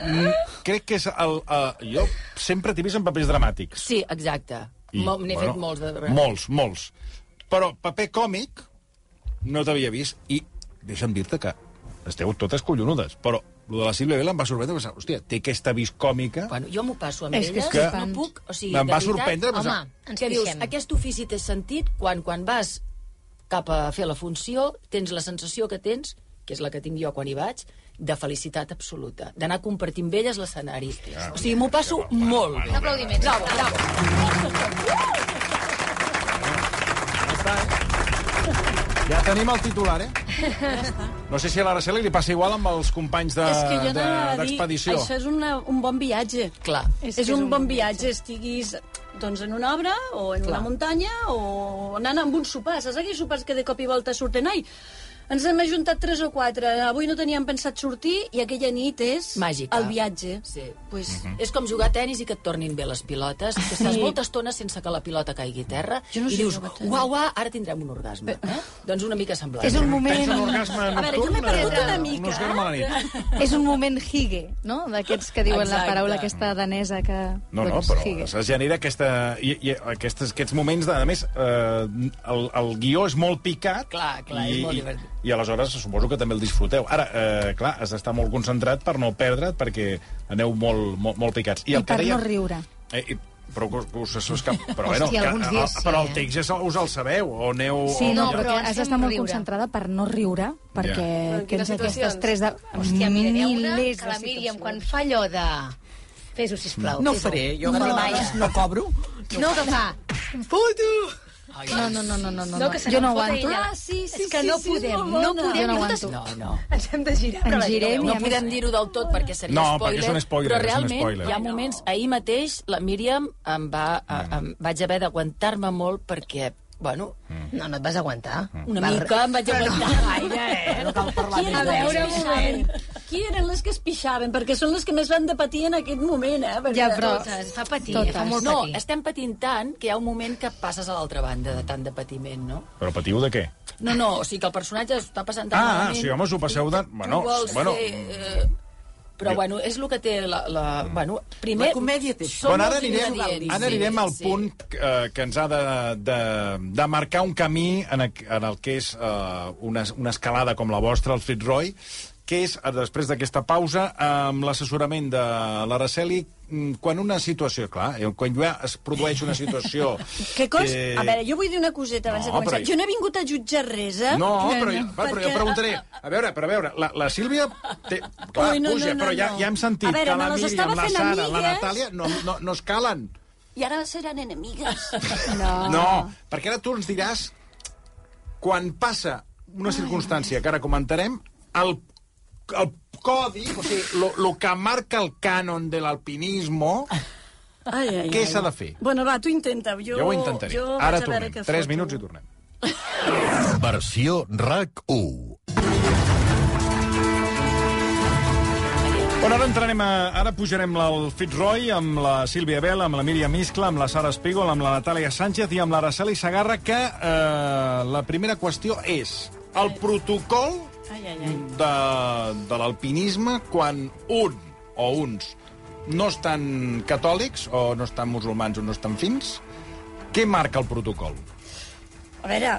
E: mm, crec que és el... Uh, jo sempre t'he vist en papers dramàtics.
A: Sí, exacte.
E: I,
A: Mo- N'he fet molts. De...
E: Molts, molts. Però paper còmic no t'havia vist i deixa'm dir-te que esteu totes collonudes, però lo de la Sílvia Vela em va sorprendre, pensar, hòstia, té aquesta vis còmica...
A: Bueno, jo m'ho passo amb
D: És que
A: elles,
E: és
A: no
D: flipant.
A: puc... O sigui,
E: Em
A: de
E: va
A: veritat,
E: sorprendre,
H: Home,
E: pensar,
H: ens
A: que dius,
H: pixem.
A: aquest ofici té sentit quan, quan vas cap a fer la funció, tens la sensació que tens, que és la que tinc jo quan hi vaig, de felicitat absoluta, d'anar compartint amb elles l'escenari. O sigui, m'ho passo molt bé.
H: Un aplaudiment.
A: Bravo, bravo.
E: ja tenim el titular, eh? No sé si a l'Araceli li passa igual amb els companys de-
F: És que jo
E: Ah, de-
F: anava a dir,
E: d'expedició.
F: això és una, un bon viatge.
A: Clar.
F: És, és un, bon viatge, estiguis doncs, en una obra, o en Clar. una muntanya, o anant amb un sopar. Saps aquells sopars que de cop i volta surten? Ai, ens hem ajuntat tres o quatre, avui no teníem pensat sortir, i aquella nit és...
A: Màgica.
F: El viatge.
A: Sí.
F: Pues,
E: Mhm.
A: És com jugar a tennis i que et tornin bé les pilotes, que estàs molta estona sense que la pilota caigui a terra,
F: Jo no
A: i
F: sé
A: dius,
F: jugar a tennis.
A: uau, uau, ara tindrem un orgasme. Eh? Doncs una mica semblant.
D: És un
E: Tens
D: moment...
E: un orgasme
F: A veure, jo m'he
E: nocturn? eh,
F: perdut una
E: Un
F: mica, eh?
E: orgasme a la nit.
D: eh? És un moment higue, no? D'aquests que diuen
A: Exacte.
D: la paraula aquesta danesa que...
E: No, no,
D: doncs,
E: però
D: higue.
E: es genera aquesta, i, i aquestes, aquests moments, de, a més, eh, el, el guió és molt picat.
A: Clar, clar,
E: i,
A: és molt
E: i-
A: divertit.
E: I, aleshores suposo que també el disfruteu. Ara, eh, clar, has d'estar molt concentrat per no perdre't, perquè aneu molt, molt, molt picats.
D: I
E: el que
D: per
E: deia-
D: no riure.
E: Eh, i, però que us, que us, us escap... Però, bueno,
H: Hòstia,
E: que-
H: alguns dies sí,
E: però el
H: eh?
E: text ja se- us el sabeu, o aneu...
D: Sí,
E: o
D: no,
E: ja-
D: perquè
H: però
D: has
H: sí,
D: d'estar molt
H: riure.
D: concentrada per no riure, perquè
I: Però en quines
D: tens aquest
I: situacions?
D: estrès de
H: Hòstia, mira, n'hi ha una
D: milers
H: que la
D: de
H: Míriam, quan
D: situacions.
H: fa allò de... Fes-ho, sisplau.
B: No ho
H: fes-ho.
B: faré, Eh, jo
H: no,
B: a
H: no,
B: vegades no cobro.
H: no, que fa...
D: No, no, no, no, no, no,
H: No, que se
D: jo no
H: n'enfota
D: aguanto.
H: ella.
F: Ah, sí, sí,
H: És que
F: sí,
H: no
F: sí, és
H: podem,
F: molt
H: no
F: bona.
H: podem.
D: Jo no
H: Nosaltres
D: aguanto.
A: No, no.
H: Ens hem de girar.
D: Ens
H: però la gent
D: girem
H: ho veu.
D: i
A: No
D: a
A: podem dir-ho del tot perquè seria
E: No,
A: spoiler.
E: perquè és un spoiler,
A: Però
E: és un
A: realment
E: spoiler.
A: hi ha moments... Ahir mateix la Míriam em va...
E: Mhm.
A: Mm. Em, vaig haver d'aguantar-me molt perquè, bueno,
H: No, no et vas aguantar.
E: Mm.
A: una
H: Va,
A: mica em vaig aguantar no. gaire, eh? No cal parlar
F: Qui
A: més
F: eren,
A: de
F: les que
H: veure,
F: es
H: un
F: pixaven? Qui eren les que es pixaven? Perquè són les que més van de patir en aquest moment, eh? Perquè
D: Ja, però-
H: Totes, fa patir,
D: Totes.
H: fa molt
A: No,
H: patir.
A: estem patint tant que hi ha un moment que passes a l'altra banda de tant de patiment, no?
E: Però patiu de què?
A: No, no, o sigui que el personatge s'ho està passant tan
E: Ah, ah,
A: malament.
E: sí, home, us ho passeu de... Bueno,
A: tu vols
E: bueno, mm,
A: fer... Eh, però,
E: Jo-
A: bueno, és el que té la... la bueno, primer...
B: La comèdia té això.
A: Són
E: Bueno, ara
A: molts
E: anirem,
A: ingredients,
E: ara
A: sí,
E: anirem al
A: sí.
E: punt eh, que ens ha de, de, de marcar un camí en, ac- en el que és eh, una, una escalada com la vostra, el Fitzroy, que és, eh, després d'aquesta pausa, amb l'assessorament de l'Araceli, mm, quan una situació, clar, eh, quan ja es produeix una situació...
F: Que cos... Eh... A veure, jo vull dir una coseta abans
E: No,
F: de començar.
E: però-
F: Jo no he vingut a jutjar res, eh?
E: No, però, jo- va, però jo
F: Perquè-
E: preguntaré... A veure, però a veure, la, la Sílvia... Té, clar,
F: Ui, no, no,
E: puja,
F: no,
E: però ja,
F: no.
E: ja hem sentit
F: A veure,
E: que la
F: me les
E: Míriam,
F: estava
E: la
F: fent
E: Sara, la
F: amigues.
E: Natàlia no, no, no es calen.
F: I ara seran enemigues. Ah.
E: No, perquè ara tu ens diràs quan passa una circumstància que ara comentarem, el, el codi, o sigui, lo, lo que marca el cànon de l'alpinismo...
F: Ai, ai,
E: Què
F: ai.
E: s'ha de fer?
F: Bueno, va, tu intenta. Jo,
E: Jo ho intentaré.
F: Jo vaig
E: ara
F: a veure
E: tornem.
F: què
E: Tres
F: foto.
E: minuts i tornem.
K: Versió RAC1.
E: Bueno, ara entrarem a... Ara pujarem al Fitzroy amb la Sílvia Bell, amb la Míriam Iscla, amb la Sara Espígol, amb la Natàlia Sánchez i amb l'Araceli Sagarra, que eh, la primera qüestió és el protocol
F: Ai, ai, ai.
E: de, de l'alpinisme quan un o uns no estan catòlics o no estan musulmans o no estan fins, què marca el protocol?
F: A veure,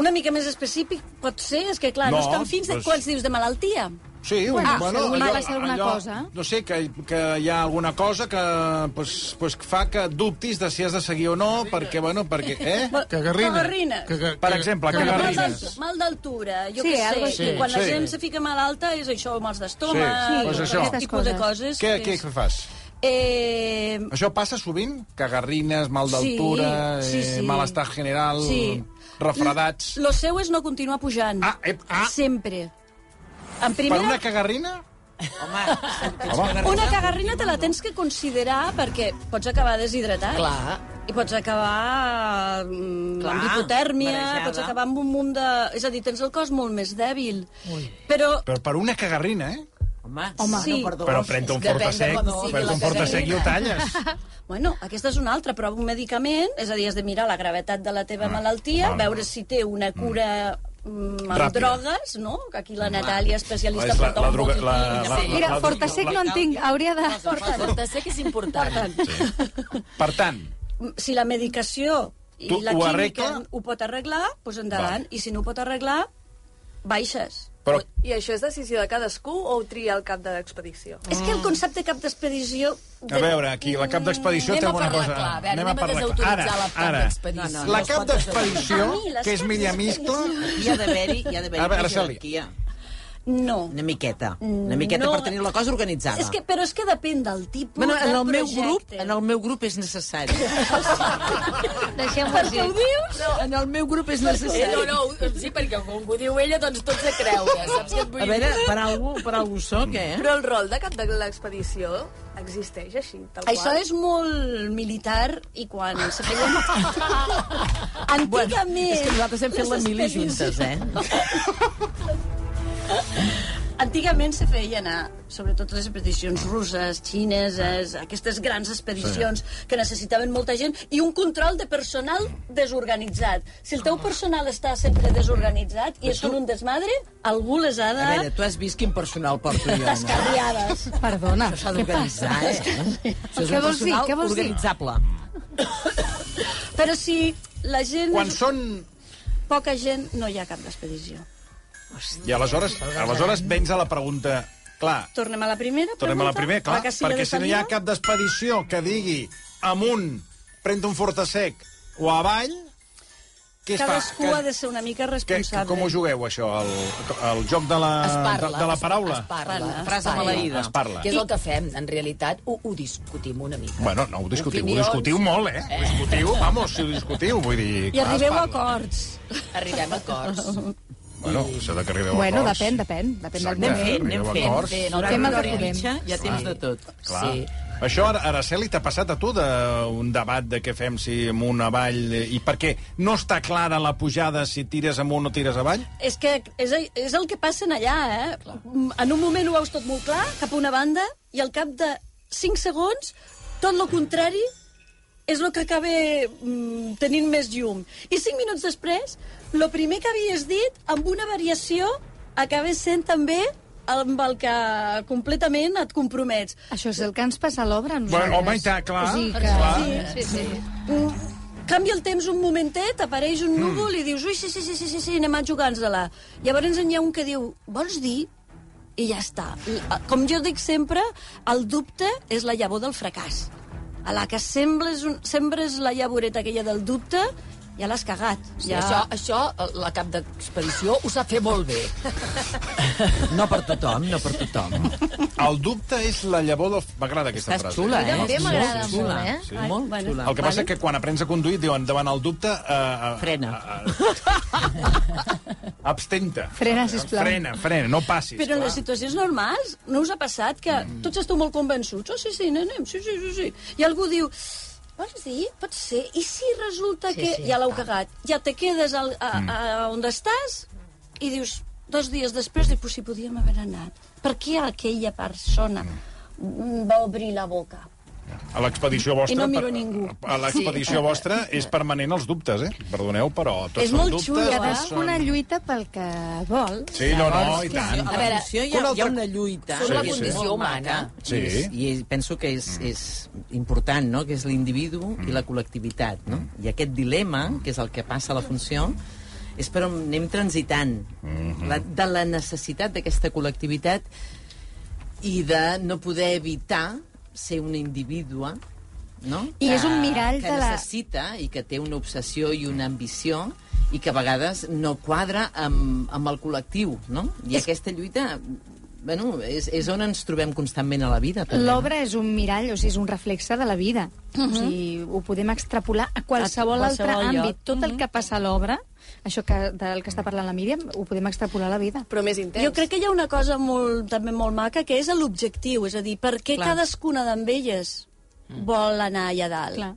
F: una mica més específic pot ser, és que clar, no,
E: No,
F: no estan fins de
E: però és-
F: quants dius de malaltia.
E: Sí, un,
D: Ah, segurament va ser alguna cosa.
E: No sé, que, que hi ha alguna cosa que pues, pues, fa que dubtis de si has de seguir o no, perquè, bueno, perquè... Eh?
F: Cagarrines. Cagarrines.
E: Per exemple, que
F: Mal
E: garrines.
F: d'alt- Mal d'altura, jo
D: Sí,
F: què sé.
D: algo així.
F: I quan la
E: Sí.
F: gent se fica malalta és això, mals d'estómac,
E: Sí, sí, doncs això.
F: aquest tipus de
D: Aquestes
F: coses.
E: Què,
F: que
E: què
F: és-
E: fas?
F: Eh,
E: Això passa sovint? Cagarrines, mal d'altura,
F: Sí, sí,
E: eh,
F: sí.
E: malestar general...
F: Sí.
E: refredats...
F: Lo seu és no continuar pujant. Ah, ep, ah. Sempre. En primera...
E: Per una cagarrina?
F: Home, una cagarrina te la tens que considerar perquè pots acabar deshidratat.
A: Clar.
F: I pots acabar mm,
A: Clar,
F: amb hipotèrmia,
A: marejada.
F: pots acabar amb un munt de... És a dir, tens el cos molt més dèbil. Ui. Però
E: Però per una cagarrina, eh?
B: Home,
A: Ah,
F: Home, sí. no, perdó.
E: Però pren-te un
F: Depèn de
E: fortasec,
F: com sigui
E: pren-te
F: la
E: un fortasec i ho
F: cagarrina.
E: talles.
F: Bueno, aquesta és una altra, però un medicament, és a dir, has de mirar la gravetat de la teva ah, malaltia,
E: val.
F: veure si té una cura mm. amb
E: Ràpida. Mm.
F: drogues, no? Que aquí la Natàlia, especialista,
E: És la-
F: porta
E: la
F: un
E: droga-
F: botiquí.
E: la- la-
F: Sí.
D: Mira,
E: la-
D: Fortasec no en tinc, hauria de...
A: Fortasec és important.
E: Per tant,
F: si la medicació i
E: Tu
F: la
E: ho
F: química
E: arregla?
F: ho pot arreglar, doncs endavant. I si no ho pot arreglar, baixes.
E: però
I: I això és decisió de cadascú o ho tria el cap de l'expedició?
F: Mm. És
B: Ah.
F: que el concepte cap d'expedició... de-
E: A veure, aquí, la cap d'expedició
A: mm, Anem
E: té
A: a
E: alguna
A: parlar
E: cosa...
A: clar, a veure, anem a
E: parlar clar.
A: desautoritzar la cap
E: ara,
A: d'expedició.
E: Ara,
A: No, no,
E: la
A: no es
E: cap
A: pot
E: d'expedició,
F: desautoritzar. Ah, mira, les
E: que és
F: caps
E: Millamiscle...
B: hi ha d'haver-hi hi ha d'haver-hi
E: A veure,
B: una
E: Araceli.
B: jerarquia.
F: No.
B: Una miqueta.
A: Mm,
B: Una miqueta
F: No.
B: per tenir la cosa organitzada.
F: És que, però és que depèn del tipus
B: Bueno, en
F: de
B: el meu
F: projecte.
B: grup, en el meu grup és necessari.
H: Deixem-ho així.
F: Perquè ho dius?
B: No, en el meu grup és necessari.
A: Eh, no, no, sí, perquè com ho diu ella, doncs tot se creure, saps què et vull
B: A veure, per algú, per algú soc, eh?
I: Però el rol de cap de l'expedició existeix així, tal qual.
F: Això és molt militar i quan se feia... Antigament...
B: és que nosaltres hem fet
F: les
B: la mili
F: expedicions-
B: juntes, eh?
F: Antigament se feia anar, sobretot les expedicions russes, xineses,
E: Ah.
F: aquestes grans expedicions sí. que necessitaven molta gent i un control de personal desorganitzat. Si el teu
E: Ah.
F: personal està sempre desorganitzat i és un desmadre, algú les ha
B: A veure,
F: de...
B: tu has vist quin personal porto jo, no?
F: Descarriades.
D: Perdona,
B: Això s'ha
D: què passa?
B: d'organitzar, eh? Això és
D: Què
B: un
D: vols dir?
B: personal
D: Què vols dir?
B: organitzable.
F: Però si la gent...
E: Quan són...
F: Poca gent, no hi ha cap expedició.
E: I aleshores, aleshores vens a la pregunta... Clar,
F: Tornem a la primera pregunta?
E: tornem a la primera, clar,
F: que sí
E: perquè si no hi ha
F: desaniva?
E: cap d'expedició que digui amunt, pren un fortasec o avall, què es
F: Cadascú
E: fa?
F: ha de ser una mica
E: que, que,
F: responsable.
E: com ho jugueu, això? El, el joc de la,
A: Es parla.
E: Ah, de, de la paraula?
A: Es, es parla.
F: Parla,
A: es
B: Frase
A: parla.
B: maleïda.
E: Es parla.
A: Que és el que fem, en realitat, ho, ho discutim una mica.
E: Bueno, no ho discutiu,
A: Opinions.
E: ho discutiu molt, eh? Ho discutiu, vamos, si ho discutiu, vull dir...
F: I arribeu a
E: es parla.
F: acords.
A: Arribem a acords.
E: Bueno, això de que arribeu
D: Bueno,
E: a acords...
D: depèn, depèn, depèn del
E: Exacte,
D: moment.
B: fent, anem
E: arribeu a
B: fent.
E: acords.
A: Fent,
B: No,
A: fent.
D: Fem el
B: no,
D: que
B: no,
D: podem.
B: mitja, Hi ha temps de tot.
E: Clar.
A: Sí.
E: Això, Ara- Araceli, t'ha passat a tu de, un debat de què fem si amunt, avall... eh, I perquè no està clara la pujada si tires amunt o tires avall?
F: És que és, és el que passa en allà, eh? Mm, En un moment ho veus tot molt clar, cap a una banda, i al cap de 5 segons, tot el contrari és el que acaba mm, tenint més llum. I 5 minuts després, el primer que havies dit, amb una variació, acaba sent també amb el que completament et compromets.
D: Això és el que ens passa a l'obra, a nosaltres.
E: Bueno, home, i tant, clar,
D: O sigui que...
E: clar.
H: Sí, sí.
F: canvia el temps un momentet, apareix un núvol i dius, ui, sí, sí, sí, sí, sí, sí anem a jugar-nos-la. Llavors n'hi ha un que diu, vols dir? I ja està. I, eh, Com jo dic sempre, el dubte és la llavor del fracàs. A la que sembles, un, sembres la llavoreta aquella del dubte, ja l'has cagat.
A: Sí,
F: Ja...
A: Això, això, eh, la cap d'expedició ho sap fer molt bé.
B: No per tothom, no per tothom.
E: El dubte és la llavor del... M'agrada aquesta
B: Estàs
E: frase.
B: xula, eh?
H: També m'agrada
B: Molt xula.
H: molt, eh?
E: Sí.
B: Molt
F: bueno.
B: xula.
E: El que passa és que quan aprens a conduir et diuen davant el dubte... Eh, eh,
B: Frena.
E: eh, Abstenta.
D: Frena, sisplau.
E: Frena, frena, no passis.
F: Però en
E: clar.
F: les situacions normals no us ha passat que mm. tots esteu molt convençuts? Oh, sí, sí, anem, sí, sí, sí, sí. I algú diu, vols dir? Pot ser. I si resulta
H: Sí,
F: que
H: sí,
F: ja l'heu
H: va.
F: cagat, ja te quedes al, a, a, on estàs i dius, dos dies després, dius, però si podíem haver anat. Per què aquella persona mm. va obrir la boca?
E: A l'expedició vostra...
F: I no miro
E: per-
F: ningú.
E: A l'expedició
F: Sí.
E: vostra és permanent els dubtes, eh? Perdoneu, però tots
F: És
E: són
F: molt
E: dubtes.
F: xulo, eh?
E: tots són-
D: Cadascuna lluita pel que vol.
E: Sí, no, no, i
B: A
E: tant.
A: A
B: veure,
A: veure,
B: hi ha,
E: una
B: hi ha
E: altra-
B: una lluita.
E: Són la
B: que és
E: condició
B: molt
A: humana.
B: maca,
E: Sí.
B: I, és- i penso que és, és important, no?, que és l'individu i la col·lectivitat, no? I aquest dilema, que és el que passa a la funció, és per on anem transitant. la, de la necessitat d'aquesta col·lectivitat i de no poder evitar ser una individua, no?
D: I és un mirall
B: que
D: de la-
B: necessita i que té una obsessió i una ambició i que a vegades no quadra amb, amb el col·lectiu, no? I aquesta lluita bueno, és, és on ens trobem constantment a la vida. també, no?
D: L'obra és un mirall, o sigui, és un reflexe de la vida. O sigui, ho podem extrapolar a qualsevol,
A: A qualsevol
D: altre
A: lloc.
D: àmbit. Tot el que passa a l'obra, això que, del que està parlant la Míriam, ho podem extrapolar a la vida.
I: Però més intens.
F: Jo crec que hi ha una cosa molt, també molt maca, que és l'objectiu, és a dir, per què
B: Clar.
F: cadascuna d'elles vol anar allà dalt.
D: Clar.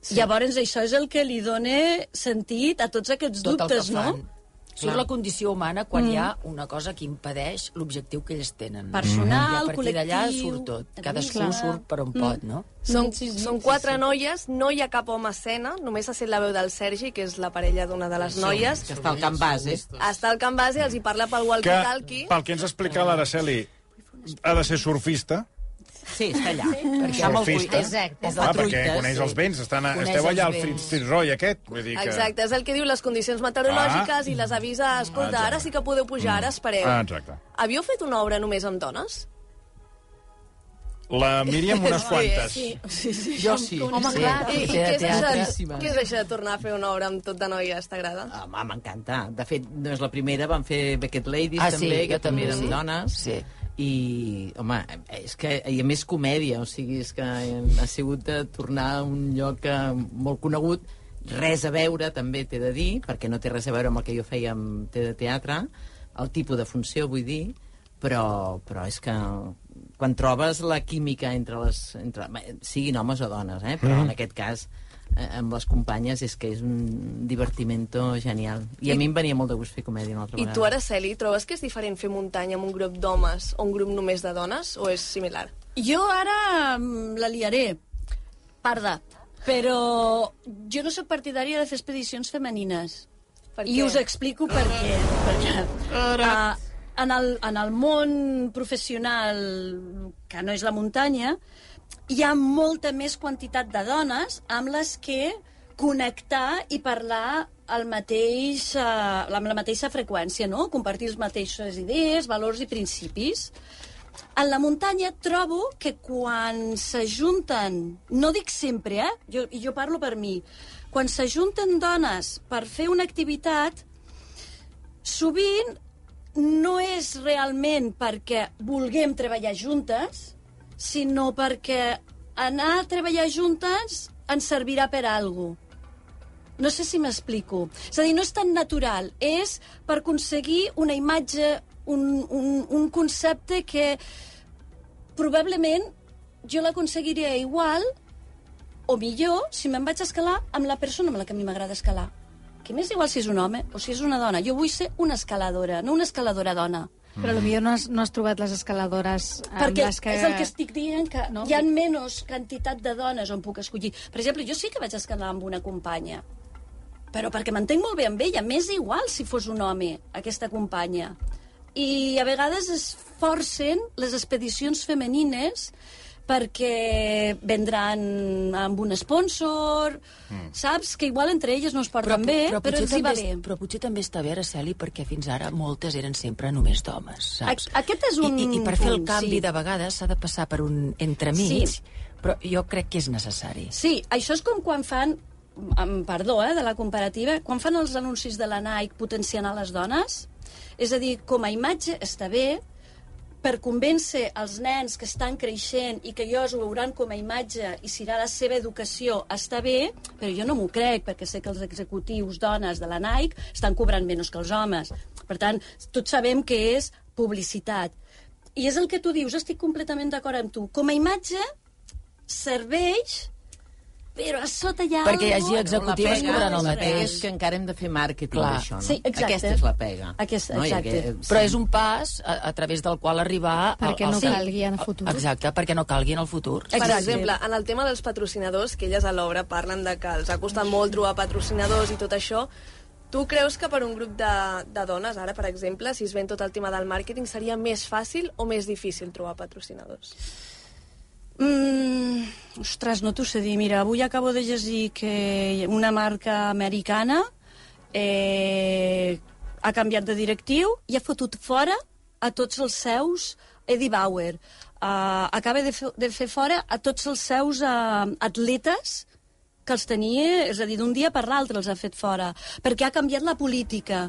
F: Sí. Llavors, això és el que li dona sentit a tots aquests
A: Tot el que
F: dubtes,
A: fan.
F: no?
A: Surt
B: Clar.
A: la condició humana quan mm. hi ha una cosa que impedeix l'objectiu que ells tenen.
F: Personal,
A: I a partir d'allà
F: col·lectiu, Mm.
A: surt tot.
F: egoisme.
A: Cadascú surt per on pot, no?
I: Són, sí, sí, són quatre sí, sí. noies, no hi ha cap home a escena, només ha set la veu del Sergi, que és la parella d'una de les noies.
B: Que està al camp base.
I: Està al camp base, els hi parla pel walkie-talkie.
E: Que, pel que ens explica l'Araceli, ha de ser surfista,
B: Sí, està allà. Perquè
E: amb el Surfista. cuit.
H: Exacte.
B: És
E: ah,
B: la
E: perquè
B: truita,
E: coneix
B: sí.
E: els vents, estan, a,
A: Coneix
E: esteu allà al
A: els
E: Fritz
A: vents.
E: Roy aquest. Vull dir que...
I: Exacte, és el que diu les condicions meteorològiques
E: Ah.
I: i les avisa, escolta,
E: Ah,
I: ara
E: exacte.
I: sí que podeu pujar, ara espereu.
E: Ah, exacte.
I: Havíeu fet una obra només amb dones?
E: La Míriam unes quantes.
F: Sí, sí.
B: Jo sí.
H: Home,
B: sí.
H: clar.
I: I, i
A: Sí,
I: què, és això, de-
B: teatríssima.
I: què és això de tornar a fer una obra amb tot de noies? T'agrada?
B: Home, m'encanta. De fet, no és la primera, van fer Beckett Ladies,
A: Ah, sí,
B: també,
A: jo
B: que també
A: també,
B: eren
A: sí.
B: dones.
A: Sí.
B: I, home, és que, i a més comèdia, o sigui, és que ha sigut de tornar a un lloc eh, molt conegut, res a veure, també t'he de dir, perquè no té res a veure amb el que jo feia amb té de teatre, el tipus de funció, vull dir, però, però és que quan trobes la química entre les... Entre, bé, siguin homes o dones, eh? però en aquest cas eh, amb les companyes és que és un divertimento genial. I, a mi em venia molt de gust fer comèdia una altra
I: I
B: vegada.
I: tu, Araceli, trobes que és diferent fer muntanya amb un grup d'homes o un grup només de dones? O és similar?
F: Jo ara mm, la liaré, parda, però jo no sóc partidària de fer expedicions femenines.
I: Per
F: I
I: què?
F: us explico per què. Perquè, uh, en, el, en el món professional, que no és la muntanya, hi ha molta més quantitat de dones amb les que connectar i parlar el mateix, eh, amb la mateixa freqüència, no? compartir els mateixos idees, valors i principis. En la muntanya trobo que quan s'ajunten, no dic sempre, eh? Jo, i jo parlo per mi, quan s'ajunten dones per fer una activitat, sovint no és realment perquè vulguem treballar juntes, sinó perquè anar a treballar juntes ens servirà per a alguna cosa. No sé si m'explico. És a dir, no és tan natural. És per aconseguir una imatge, un, un, un concepte que probablement jo l'aconseguiria igual o millor si me'n vaig a escalar amb la persona amb la que a mi m'agrada escalar. Que m'és igual si és un home o si és una dona. Jo vull ser una escaladora, no una escaladora dona.
D: Però potser no has, no has trobat les escaladores amb
F: Perquè
D: les que...
F: és el que estic dient, que no?
D: No?
F: hi ha menys quantitat de dones on puc escollir. Per exemple, jo sí que vaig escalar amb una companya, però perquè m'entenc molt bé amb ella. M'és igual si fos un home, aquesta companya. I a vegades es forcen les expedicions femenines perquè vendran amb un sponsor, mm. saps? Que igual entre elles no es porten bé, però, però
A: potser
F: els hi va
A: també,
F: bé.
A: és- Però potser també està bé, Araceli, perquè fins ara moltes eren sempre només d'homes, saps?
F: A- aquest és un
A: I, i, i per fer el
F: punt,
A: canvi
F: sí.
A: de vegades s'ha de passar per un entremig,
F: Sí.
A: però jo crec que és necessari.
F: Sí, això és com quan fan, amb perdó, eh, de la comparativa, quan fan els anuncis de la Nike potenciant a les dones, és a dir, com a imatge està bé, per convèncer els nens que estan creixent i que ells ho veuran com a imatge i serà la seva educació, està bé, però jo no m'ho crec, perquè sé que els executius dones de la Nike estan cobrant menys que els homes. Per tant, tots sabem que és publicitat. I és el que tu dius, estic completament d'acord amb tu. Com a imatge serveix, però a sota hi ha
A: Perquè hi hagi
F: algo-
A: executives
B: La pega-
A: cobrant el
B: la pega
A: mateix.
B: És que encara hem de fer màrqueting
A: Clar.
B: d'això, no?
F: Sí, exacte.
B: Aquesta és la pega.
F: Aquesta,
B: I
F: exacte.
A: Però és un pas a, a través del qual arribar...
D: Perquè
A: al,
D: no
A: al, al-
D: calgui en el futur.
A: Exacte, perquè no calgui en el futur.
I: Per exemple, en el tema dels patrocinadors, que elles a l'obra parlen de que els ha costat molt trobar patrocinadors i tot això, tu creus que per un grup de, de dones, ara, per exemple, si es ven tot el tema del màrqueting, seria més fàcil o més difícil trobar patrocinadors?
F: Mm, ostres, no t'ho sé dir. Mira, avui acabo de llegir que una marca americana eh, ha canviat de directiu i ha fotut fora a tots els seus Eddie Bauer. Uh, acaba de, fer, de fer fora a tots els seus uh, atletes que els tenia, és a dir, d'un dia per l'altre els ha fet fora, perquè ha canviat la política.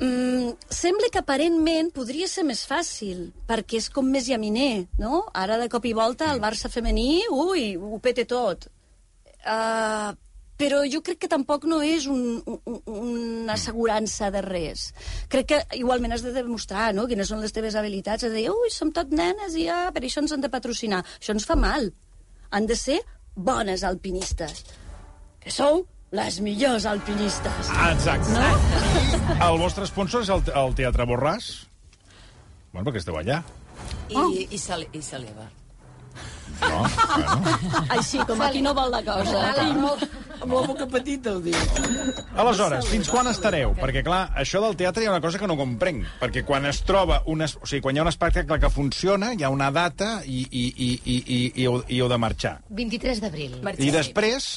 F: Mm, sembla que aparentment podria ser més fàcil, perquè és com més llaminer, no? Ara, de cop i volta, el Barça femení, ui, ho pete tot. Uh, però jo crec que tampoc no és un, un, una assegurança de res. Crec que igualment has de demostrar no? quines són les teves habilitats. Has de dir, ui, som tot nenes i ja, per això ens han de patrocinar. Això ens fa mal. Han de ser bones alpinistes. Que sou les millors alpinistes.
E: Exacte.
F: No?
E: El vostre sponsor és el, el Teatre Borràs? Bueno, perquè esteu allà.
A: I, oh. i, s'ele- i s'eleva.
E: No,
F: Així, com aquí no vol la cosa.
A: Amb la boca petita ho dic.
E: Aleshores, fins quan estareu? Perquè, clar, això del teatre hi ha una cosa que no comprenc. Perquè quan es troba... Un es... O sigui, quan hi ha un espectacle que funciona, hi ha una data i, i, i, i, i, i, heu, i heu de marxar.
H: 23 d'abril.
E: I després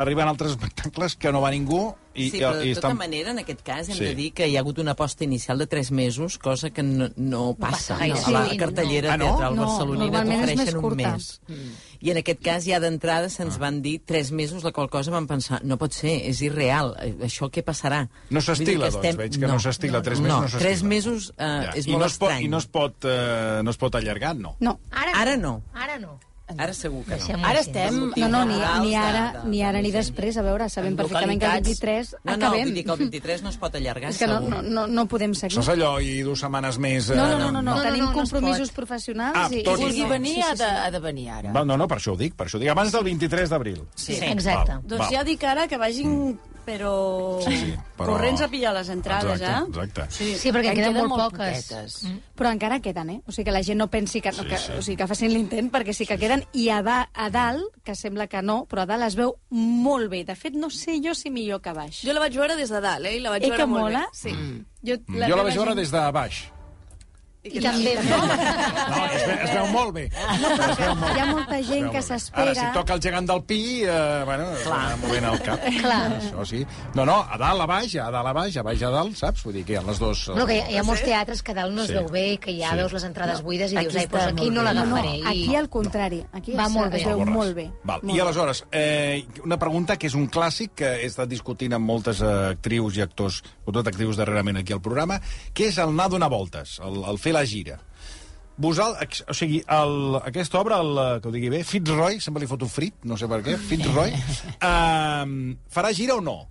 E: arriben altres espectacles que no va ningú i,
B: sí, però
E: i,
B: de
E: i
B: tota
E: estan...
B: manera, en aquest cas, hem
E: Sí.
B: sí. de dir que hi ha hagut una aposta inicial de 3 mesos, cosa que no, no passa.
H: gaire
B: no, a la
H: sovint,
B: cartellera
E: no. Ah, no?
B: teatral
D: No,
B: barcelonina
D: normalment és més
B: t'ofereixen un
D: curta. Mm.
B: mes. I en aquest cas ja d'entrada
E: Ah.
B: se'ns van dir 3 mesos, la qual cosa vam pensar, no pot ser, és irreal, eh, això què passarà?
E: No s'estila,
B: Vull dir
E: doncs, veig que no s'estila, tres mesos no s'estila.
B: 3 mesos eh,
E: Ja.
B: és
E: I
B: molt
E: no es pot,
B: estrany.
E: I no es pot, eh, no es pot allargar, no.
D: No,
H: Ara,
B: Ara no.
H: Ara no.
B: Ara segur que no.
H: Deixem-ho
A: Ara
H: així.
A: estem...
D: no, no ni,
B: Rals
D: ni,
B: de-
D: ara,
B: de-
D: ni ara ni després. A veure, sabem
A: En
D: perfectament que el
A: localitats.
D: 23
B: No, no,
D: acabem.
B: vull dir que el 23 no es pot allargar,
D: És que no,
B: segur.
D: no, no, no podem seguir.
E: Això és allò, i dues setmanes més... eh,
D: No, no, no, no, no,
H: no,
D: tenim
H: no, no es
D: compromisos
H: pot.
D: professionals.
E: Ah,
D: i,
E: tot
D: i-
E: i-
A: Vulgui
E: no.
A: venir, ha de, ha de venir ara.
E: Va, no, no, per això ho dic, per això ho dic. Abans del 23 d'abril.
H: Sí, exacte.
E: Val,
F: Doncs
E: val. Mm.
F: ja dic ara que vagin, però...
E: Sí, sí, però-
F: Corrents a pillar les entrades,
E: Exacte,
F: eh?
E: exacte.
F: Sí,
H: Sí, perquè en queden molt poques.
A: poquetes.
D: Però encara queden, eh? O sigui, que la gent no pensi que...
E: Sí,
D: que
E: sí.
D: O sigui, que facin l'intent, perquè sí que queden. I a, da, a dalt, que sembla que no, però a dalt es veu molt bé. De fet, no sé jo si millor que a baix.
I: Jo la vaig veure des de dalt, eh? I la vaig
D: Eh,
I: veure
D: que
I: molt
D: mola?
I: bé. Sí.
D: Jo
E: Mm. Jo la vaig veure des de baix.
H: I també, no?
E: No, es, ve, es veu molt bé. Es veu molt
D: Hi ha
E: bé.
D: molta
E: Es
D: gent que
E: veu molt bé. Ara, si
D: s'espera...
E: toca el gegant del Pi, eh, bueno, s'anà movent el cap. Clar. Això sí. No, no, a dalt, a baix, a dalt, a baix, a baix, a dalt, saps? Vull dir que hi ha les dues...
H: No, que hi ha, hi ha molts teatres que a dalt no es
E: Sí.
H: veu bé, que ja
E: Sí.
H: veus les entrades buides i
A: Aquí
H: dius, ai,
A: està
H: doncs aquí
A: molt
H: no
A: bé."
H: l'agafaré.
D: Aquí, al contrari, aquí
H: Va
D: es,
H: molt
D: es
H: bé.
D: veu
E: Borràs.
D: molt bé.
E: Val.
D: Molt
E: I
D: bé.
E: aleshores, eh, una pregunta que és un clàssic que he estat discutint amb moltes eh, actrius i actors, sobretot actrius darrerament aquí al programa, que és el anar a donar voltes, el, el fer la gira. Vosal, ex- o sigui, el, aquesta obra, el, eh, que ho digui bé, Fitzroy, sempre li foto frit, no sé per què, Fitzroy, eh, farà gira o no?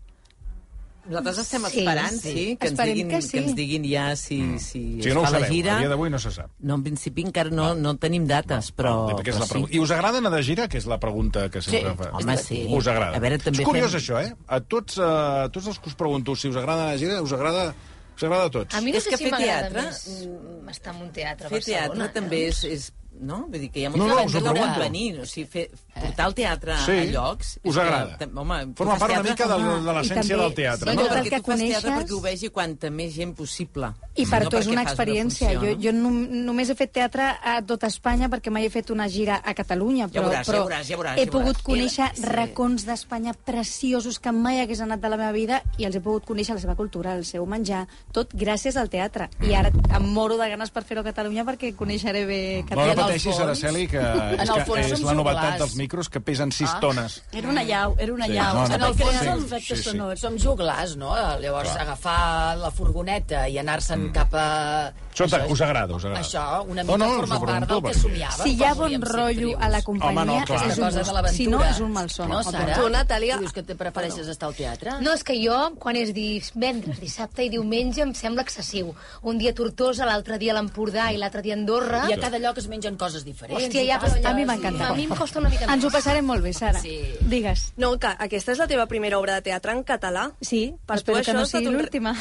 B: Nosaltres estem
H: Sí,
B: esperant,
H: sí. Mm.
B: sí, que, ens
D: Esperem
B: diguin,
D: que
B: que,
D: sí.
B: ens diguin ja si, si
E: O
B: es
E: sigui, no ho
B: fa la
E: sabeu,
B: gira.
E: a dia d'avui no se sap.
B: No, en principi encara no, no tenim dates, però...
E: Perquè és
B: Oh, però
E: la
B: sí.
E: pregunta. I us agrada anar de gira? Que és la pregunta que sempre
A: Sí.
E: fa.
B: Home, sí.
E: Us agrada.
B: A veure, també
E: és curiós,
B: fem-
E: això, eh? A tots, eh, a tots els que us pregunto si us agrada anar de gira, us agrada, us agrada a tots.
H: A mi no
B: És
H: sé
B: que
H: si
B: fer
H: m'agrada
B: teatre,
H: més mm, estar en un teatre a
B: Fer teatre
H: Barcelona.
B: també és, és... No? Vull dir que hi ha
E: No,
B: molta
E: no, us
B: gent
E: ho
B: que no pot
E: pregunto.
B: venir. O sigui, fer, portar el teatre
E: Sí.
B: a llocs... és
E: Us
B: que,
E: agrada.
B: tam- home, tu
E: Forma
B: fas
E: part una
B: teatre-
E: mica de, de l'essència
D: també-
E: del teatre,
B: Sí,
D: Tot
B: no,
E: no?
D: el
B: perquè
D: que
B: tu fas teatre
D: coneixes-
B: perquè ho vegi quanta més gent possible.
D: I per
B: no
D: tu és
B: perquè
D: una
B: fas
D: experiència.
B: funció, no?
D: jo jo no, només he fet teatre a tot Espanya perquè mai he fet una gira a Catalunya, però,
B: veuràs, ja
D: però
B: veuràs, ja veuràs,
D: he
B: ja
D: pogut
B: veuràs.
D: conèixer
B: Sí.
D: racons d'Espanya preciosos que mai hagués anat de la meva vida i els he pogut conèixer la seva cultura, el seu menjar, tot gràcies al teatre.
B: Mm.
D: I ara em moro de ganes per fer-ho a Catalunya perquè coneixeré bé
E: No, no
D: Catalunya. Doncs,
E: pateixis,
A: fons-
E: Araceli, que
A: En
E: és,
A: el
E: que
A: fons
E: és
A: som Ah.
E: la novetat
A: joglars.
E: dels micros que pesen 6 tones.
F: Era una llau, era una
E: Sí,
F: llau.
E: no,
F: Sí,
E: no,
F: no, no,
A: no,
F: crear
A: sí,
F: els
E: sí, sí.
F: efectes sonors.
A: Som joglars, no? Llavors,
E: Clar.
A: agafar la furgoneta i anar-se'n cap a...
E: Això t'a- Mm. us agrada, us agrada.
A: Això, una
E: No,
A: mica
E: no, us
A: forma
E: ho
A: part
E: pregunto,
A: del que
E: perquè-
A: somiava.
D: Si hi ha bon rotllo a la companyia,
E: Home, no, clar.
D: és un
A: cosa de
D: gust.
A: l'aventura.
D: Si no, és un malson.
A: No,
D: Al
A: Sara?
I: Tu,
D: contrari.
I: Natàlia-
A: Tu dius que te prefereixes estar al teatre?
H: No, és que jo, quan és divendres, dissabte i diumenge, em sembla excessiu. Un dia a Tortosa, l'altre dia a l'Empordà i l'altre dia a Andorra.
A: I a cada lloc es mengen coses diferents.
H: Hòstia, ja,
A: passes-
H: però ja...
D: A mi m'encanta.
H: A mi em costa una mica més.
D: Ens ho passarem molt bé, Sara. Sí. Digues.
I: No, que aquesta és la teva primera obra de teatre en català.
D: Sí,
I: Per tu
D: espero
I: això
D: que no
I: ha estat
D: sigui
I: un re-
D: l'última.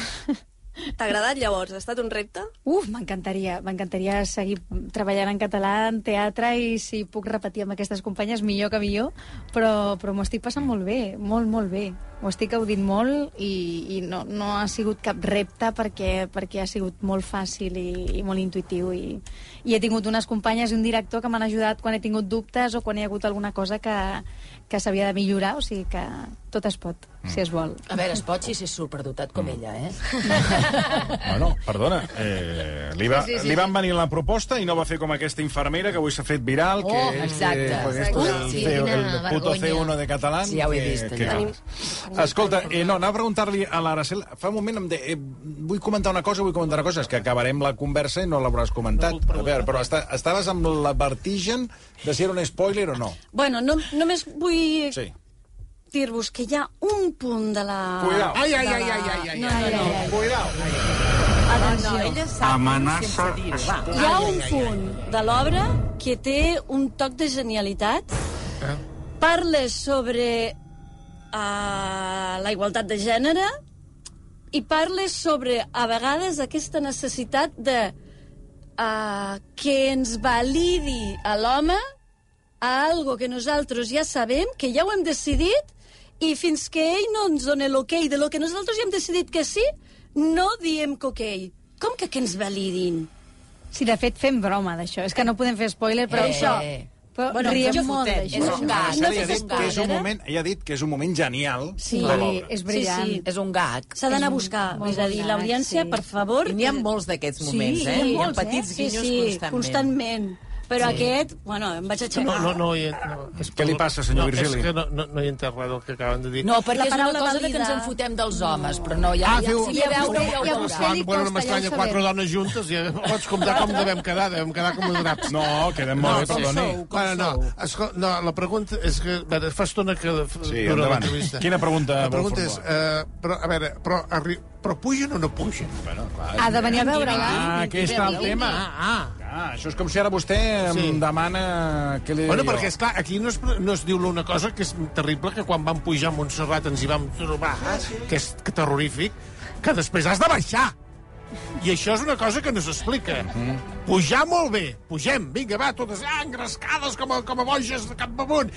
I: T'ha agradat llavors? Ha estat un repte?
D: Uf, m'encantaria, m'encantaria seguir treballant en català, en teatre, i si puc repetir amb aquestes companyes, millor que millor, però, però m'ho estic passant molt bé, molt, molt bé. Ho estic gaudint molt i, i no, no ha sigut cap repte perquè, perquè ha sigut molt fàcil i, i molt intuitiu. I, I he tingut unes companyes i un director que m'han ajudat quan he tingut dubtes o quan hi ha hagut alguna cosa que, que s'havia de millorar, o sigui que tot es pot, si es vol.
A: A veure, es pot si és superdotat com ella, eh?
E: Bueno, perdona, eh, li, va,
H: Sí, sí, sí,
E: li
H: sí.
E: van venir la proposta i no va fer com aquesta infermera que avui s'ha fet viral, que eh,
A: Oh, exacte.
E: que esto
H: Ui,
E: del
H: sí,
E: CEO,
H: quina
E: el puto
H: vergonya.
E: C1 de català,
A: Sí, ja ho he
E: que-
A: vist,
E: que
A: allò.
E: ganes. Escolta, eh, no, anava a preguntar-li a l'Aracel... Fa un moment em de... eh, vull comentar una cosa, vull comentar una cosa. És que acabarem la conversa i no l'hauràs comentat. a veure, però està, estaves amb la vertigen de si era un spoiler o no.
F: Bueno, no, només vull
E: Sí.
F: dir-vos que hi ha un punt de la...
E: Cuidao. Ai,
F: de
E: ai,
F: la-
E: ai, ai, ai, ai,
F: No, no, no.
E: Cuidao.
F: Atenció.
L: Amenaça...
F: Hi ha un punt de l'obra que té un toc de genialitat.
E: Eh?
F: Parla sobre uh, la igualtat de gènere i parla sobre, a vegades, aquesta necessitat de uh, que ens validi a l'home a algo que nosaltres ja sabem, que ja ho hem decidit, i fins que ell no ens doni l'okei de lo que nosaltres ja hem decidit que sí, no diem que okei. Com que que ens validin?
D: Sí, de fet, fem broma d'això. És que no podem fer spoiler, però
F: Eh.
D: això... Però
F: Bueno,
D: riem
F: jo-
D: molt
F: fotet,
D: d'això.
A: és un gat.
E: Marcel ja ha dit que és un
A: spoiler, eh?
E: moment, ja ha dit que és un moment genial
D: Sí,
E: de l'obra.
D: és brillant.
F: Sí, sí.
A: És un gag.
F: S'ha d'anar a
D: És un
F: buscar.
D: molt
F: És a dir,
D: bon
F: l'audiència,
D: gag, sí.
F: per favor...
B: I n'hi ha molts d'aquests moments,
F: sí,
B: eh?
F: Hi ha, molts,
B: ha petits
F: eh?
B: guinyos
F: sí, sí,
B: constantment.
F: constantment. Però aquest, bueno, em vaig aixecar.
L: No, no, no, hi he- no, és
E: Què li passa, senyor
L: no,
E: Virgili?
L: És que no, no, no hi he entès res del que acaben de dir.
A: No, perquè
F: La
A: és una
F: paraula
A: cosa de que ens
F: valida.
A: en fotem dels homes, però no, ja...
L: Ah,
A: ja,
L: feu-
A: si hi ha veure, ja ho
D: i a
A: veurà.
D: vostè li
L: bueno,
D: costa, ja
L: no
D: ho
L: m'estranya,
D: sabem.
L: quatre dones juntes, i ja pots comptar com devem quedar, devem quedar com a draps.
E: No, quedem molt bé, perdoni.
L: Bueno, no, escol... no, la pregunta és que... A veure, fa estona que f-
E: Sí,
L: dura
E: endavant.
L: l'entrevista.
E: Quina pregunta
L: La pregunta
E: vol
L: és...
E: formular?
L: Eh, però, a veure, però, arri... però pugen o no pugen?
E: Bueno, clar,
D: Ha de venir a eh? veure-la.
E: Ah, aquí està el tema.
L: Ah, ah.
E: Ah, això és com si ara vostè em
L: Sí.
E: demana... Què li
L: Bueno,
E: diria
L: perquè,
E: jo.
L: esclar, aquí no es, no es diu l'una cosa que és terrible, que quan vam pujar a Montserrat ens hi vam trobar,
E: Ah,
L: que és terrorífic, que després has de baixar. I això és una cosa que no s'explica.
E: Mhm.
L: Pujar molt bé, pugem, vinga, va, totes ah, engrescades com a, com a boges de cap amunt,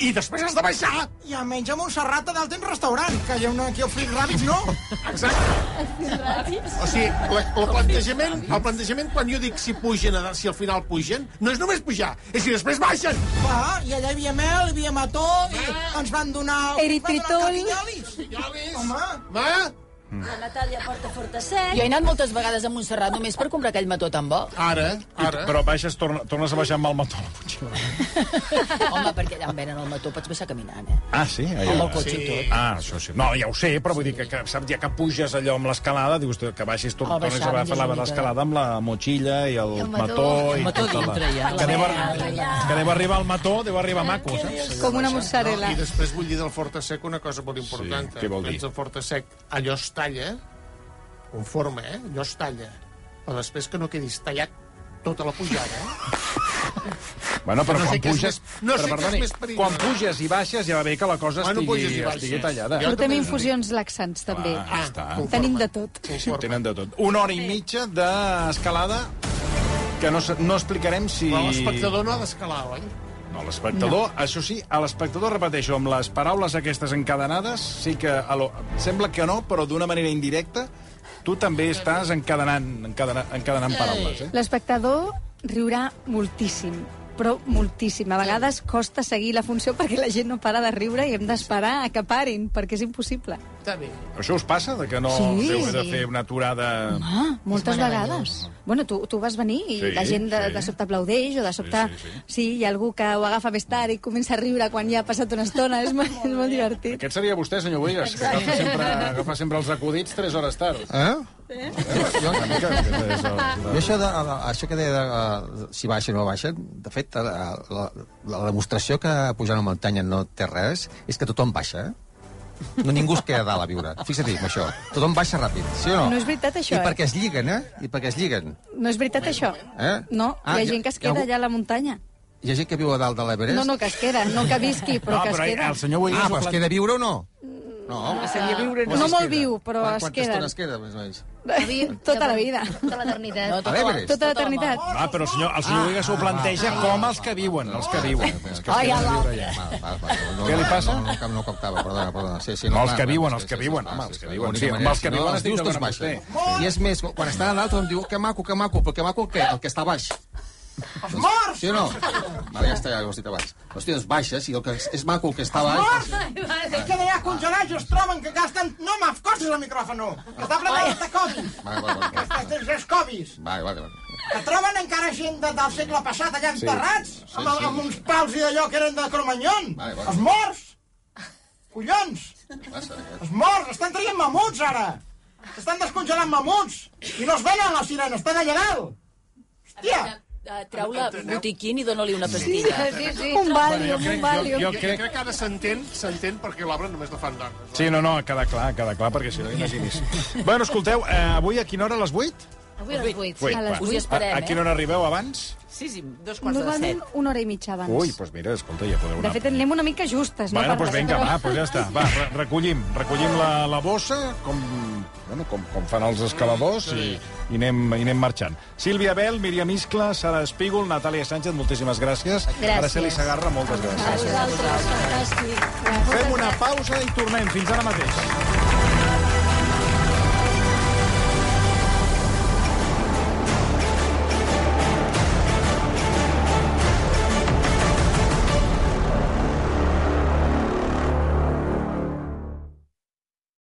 L: i després has de baixar.
G: I almenys a Montserrat a dalt tens restaurant, que hi ha una aquí al Flip Rabbits, no?
L: Exacte. O sigui, la, el, plantejament, el plantejament, quan jo dic si pugen, a dalt, si al final pugen, no és només pujar, és si després baixen.
B: "Ah,
G: Va, i allà hi havia mel, hi havia mató, i ens van donar...
D: Eritritol.
G: Ens van donar capinyolis. Home.
L: Va?
F: La Natàlia porta forta set.
A: Jo he anat moltes vegades a Montserrat només per comprar aquell mató tan bo.
L: Ara, ara.
E: Però baixes, torna, tornes a baixar amb el mató a la motxilla.
A: Home, perquè allà en venen el mató, pots baixar caminant, eh?
E: Ah, sí? Allà.
A: Amb el cotxe i tot.
E: Ah, això sí. No, ja ho sé, però vull dir que, que saps, ja que puges allò amb l'escalada, dius tu, que baixis, tor
A: Al
E: tornes
A: baixar, doncs,
E: a agafar
A: és
E: la-
A: una mica
E: l'escalada amb la motxilla i el,
H: el mató.
E: mató.
B: El
E: i
B: mató
E: tota la-
B: dintre, ja.
E: Que deu, ar- que deu arribar al mató, deu arribar eh? maco, saps?
D: Com una mozzarella.
L: I després vull dir del forta sec una cosa molt important.
E: què vol dir?
L: Doncs el forta sec, allò es talla, conforme, eh? Allò es talla. Però després que no quedis tallat tota la pujada, eh?
E: Bueno, però
L: No sé
E: quan
L: què és
E: puges...
L: més- no sé què
E: però,
L: és
E: perdoni,
L: més perillós. eh?
E: Quan puges i baixes ja va bé que la cosa
L: Bueno, puges
E: estigui,
L: i baixes.
E: estigui tallada.
L: Jo
D: Portem
L: també-
D: infusions laxants, també.
E: Ah, està.
L: conforme.
D: Tenim de tot.
E: Sí, sí, ho tenen de tot. Una hora i mitja d'escalada que no, s- no explicarem si...
L: Però l'espectador no ha d'escalar, oi?
E: No, l'espectador, no. això sí, a l'espectador, repeteixo, amb les paraules aquestes encadenades, sí que... A lo... Sembla que no, però d'una manera indirecta, tu també estàs encadenant, encadenant, encadenant paraules, eh?
D: L'espectador riurà moltíssim, però moltíssim. A vegades costa seguir la funció perquè la gent no para de riure i hem d'esperar a que parin, perquè és impossible.
L: Està bé.
E: Això us passa, de que no
D: Sí,
E: us heu de
D: sí.
E: fer una aturada...
D: Ah, moltes vegades. Bueno, tu, tu vas venir i
E: Sí,
D: la gent de,
E: sí.
D: de sobte aplaudeix o de sobte...
E: sí, sí.
D: sí, hi ha algú que ho agafa més tard i comença a riure quan ja ha passat una estona. És, molt, és molt divertit.
E: Aquest seria vostè, senyor Boigas, que agafa sempre, agafa sempre els acudits 3 hores tard.
G: Eh?
E: Jo, una mica, aquest és el,
G: Jo això, de, de, això que deia de, eh, si baixen o no baixen, de fet, la, la, la demostració que pujar a una muntanya no té res és que tothom baixa, eh? No ningú es queda a dalt a viure. Fixa't en això. Tothom baixa ràpid, sí o no?
D: No és veritat, això,
G: I
D: eh?
G: perquè es lliguen, eh? I perquè es lliguen.
D: No és veritat, això?
G: Eh?
D: No,
G: Ah,
D: hi ha
G: hi ha-
D: gent que es
G: hi ha
D: queda
G: algú-
D: allà a la muntanya.
G: Hi ha gent que viu a dalt de l'Everest.
D: No, no, que es queda. No que visqui, però
E: No,
D: que es
E: Ah, però
D: queda.
E: el senyor Boigas...
G: Ah,
E: ho
G: però es
E: plante-
G: queda viure o no? No,
B: Seria viure...
D: No molt viu, però
G: Quan-
D: es
G: Quanta
D: queden.
G: estona es queda, més o menys?
D: Tota la vida.
H: Tota l'eternitat.
A: No,
G: A l'Everest?
D: Tota l'eternitat.
E: Ah, però el senyor, el senyor Boigas
G: Ah,
E: ho planteja com els que viuen, els que viuen. Els que es queden a viure allà.
G: Val, val, val. No,
E: Què li passa?
G: No, no, no, no captava, perdona, perdona. Sí, sí,
E: No, els
G: clar,
E: que
G: clar,
E: viuen,
G: sí,
E: els
G: sí,
E: que
G: sí,
E: viuen,
G: clar,
E: home,
G: sí,
E: els que
G: sí,
E: viuen.
G: l'única
E: Sí, amb
G: manera,
E: els que
G: si no,
E: viuen
G: els
E: estic
G: dius,
E: d'acord
G: tots
E: amb vostè.
G: baixen. I és més, quan estan a l'altre, em diu, que maco, que maco, però que maco què? Eh, El que està baix. Els morts! Sí o no? Vale, ja està, ja ho has dit abans. Hòstia, doncs baixes, i el que és, és maco el que està baix...
B: Ai,
G: Es queda ja congelat i es troben que gasten... No m'afcosis el micròfono! Està prenent de Covid!
L: Vale, vale, vale.
G: Els Covis!
L: Vale, vale, vale.
G: Que troben encara gent de, del segle passat allà enterrats, sí, amb, sí. amb uns pals i d'allò que eren de Cromanyón.
L: Vale, vale.
G: Els morts!
M: Collons! Els morts! Estan traient mamuts, ara! Estan descongelant mamuts! I no es venen les sirenes, estan allà dalt! Hòstia!
A: Treu-la botiquín i dona-li una pastilla.
L: jo, crec... crec que ara s'entén s'entén perquè l'obra només la fan dones.
E: Sí, no, no, ha quedat clar, ha quedat clar, perquè si no, imaginis. bueno, escolteu, eh, avui a quina hora, a les 8?
H: Avui a les 8.
E: va. a, a quina hora arribeu abans?
B: Sí, sí, dos
D: Normalment una hora i mitja abans.
E: Ui, doncs pues mira, escolta, ja podeu
D: De
E: anar.
D: fet, anem una mica justes.
E: bueno,
D: no,
E: doncs vinga, va, doncs ja està. Va, re- recollim, recollim la, la bossa, com, bueno, com, com fan els escaladors, i, i, anem, i anem marxant. Sílvia Bel, Míriam Iscla, Sara Espígol, Natàlia Sánchez, moltíssimes gràcies.
N: Gràcies.
E: Araceli Sagarra, moltes gràcies.
N: Gràcies a vosaltres.
E: Fem una pausa i tornem. Fins ara mateix.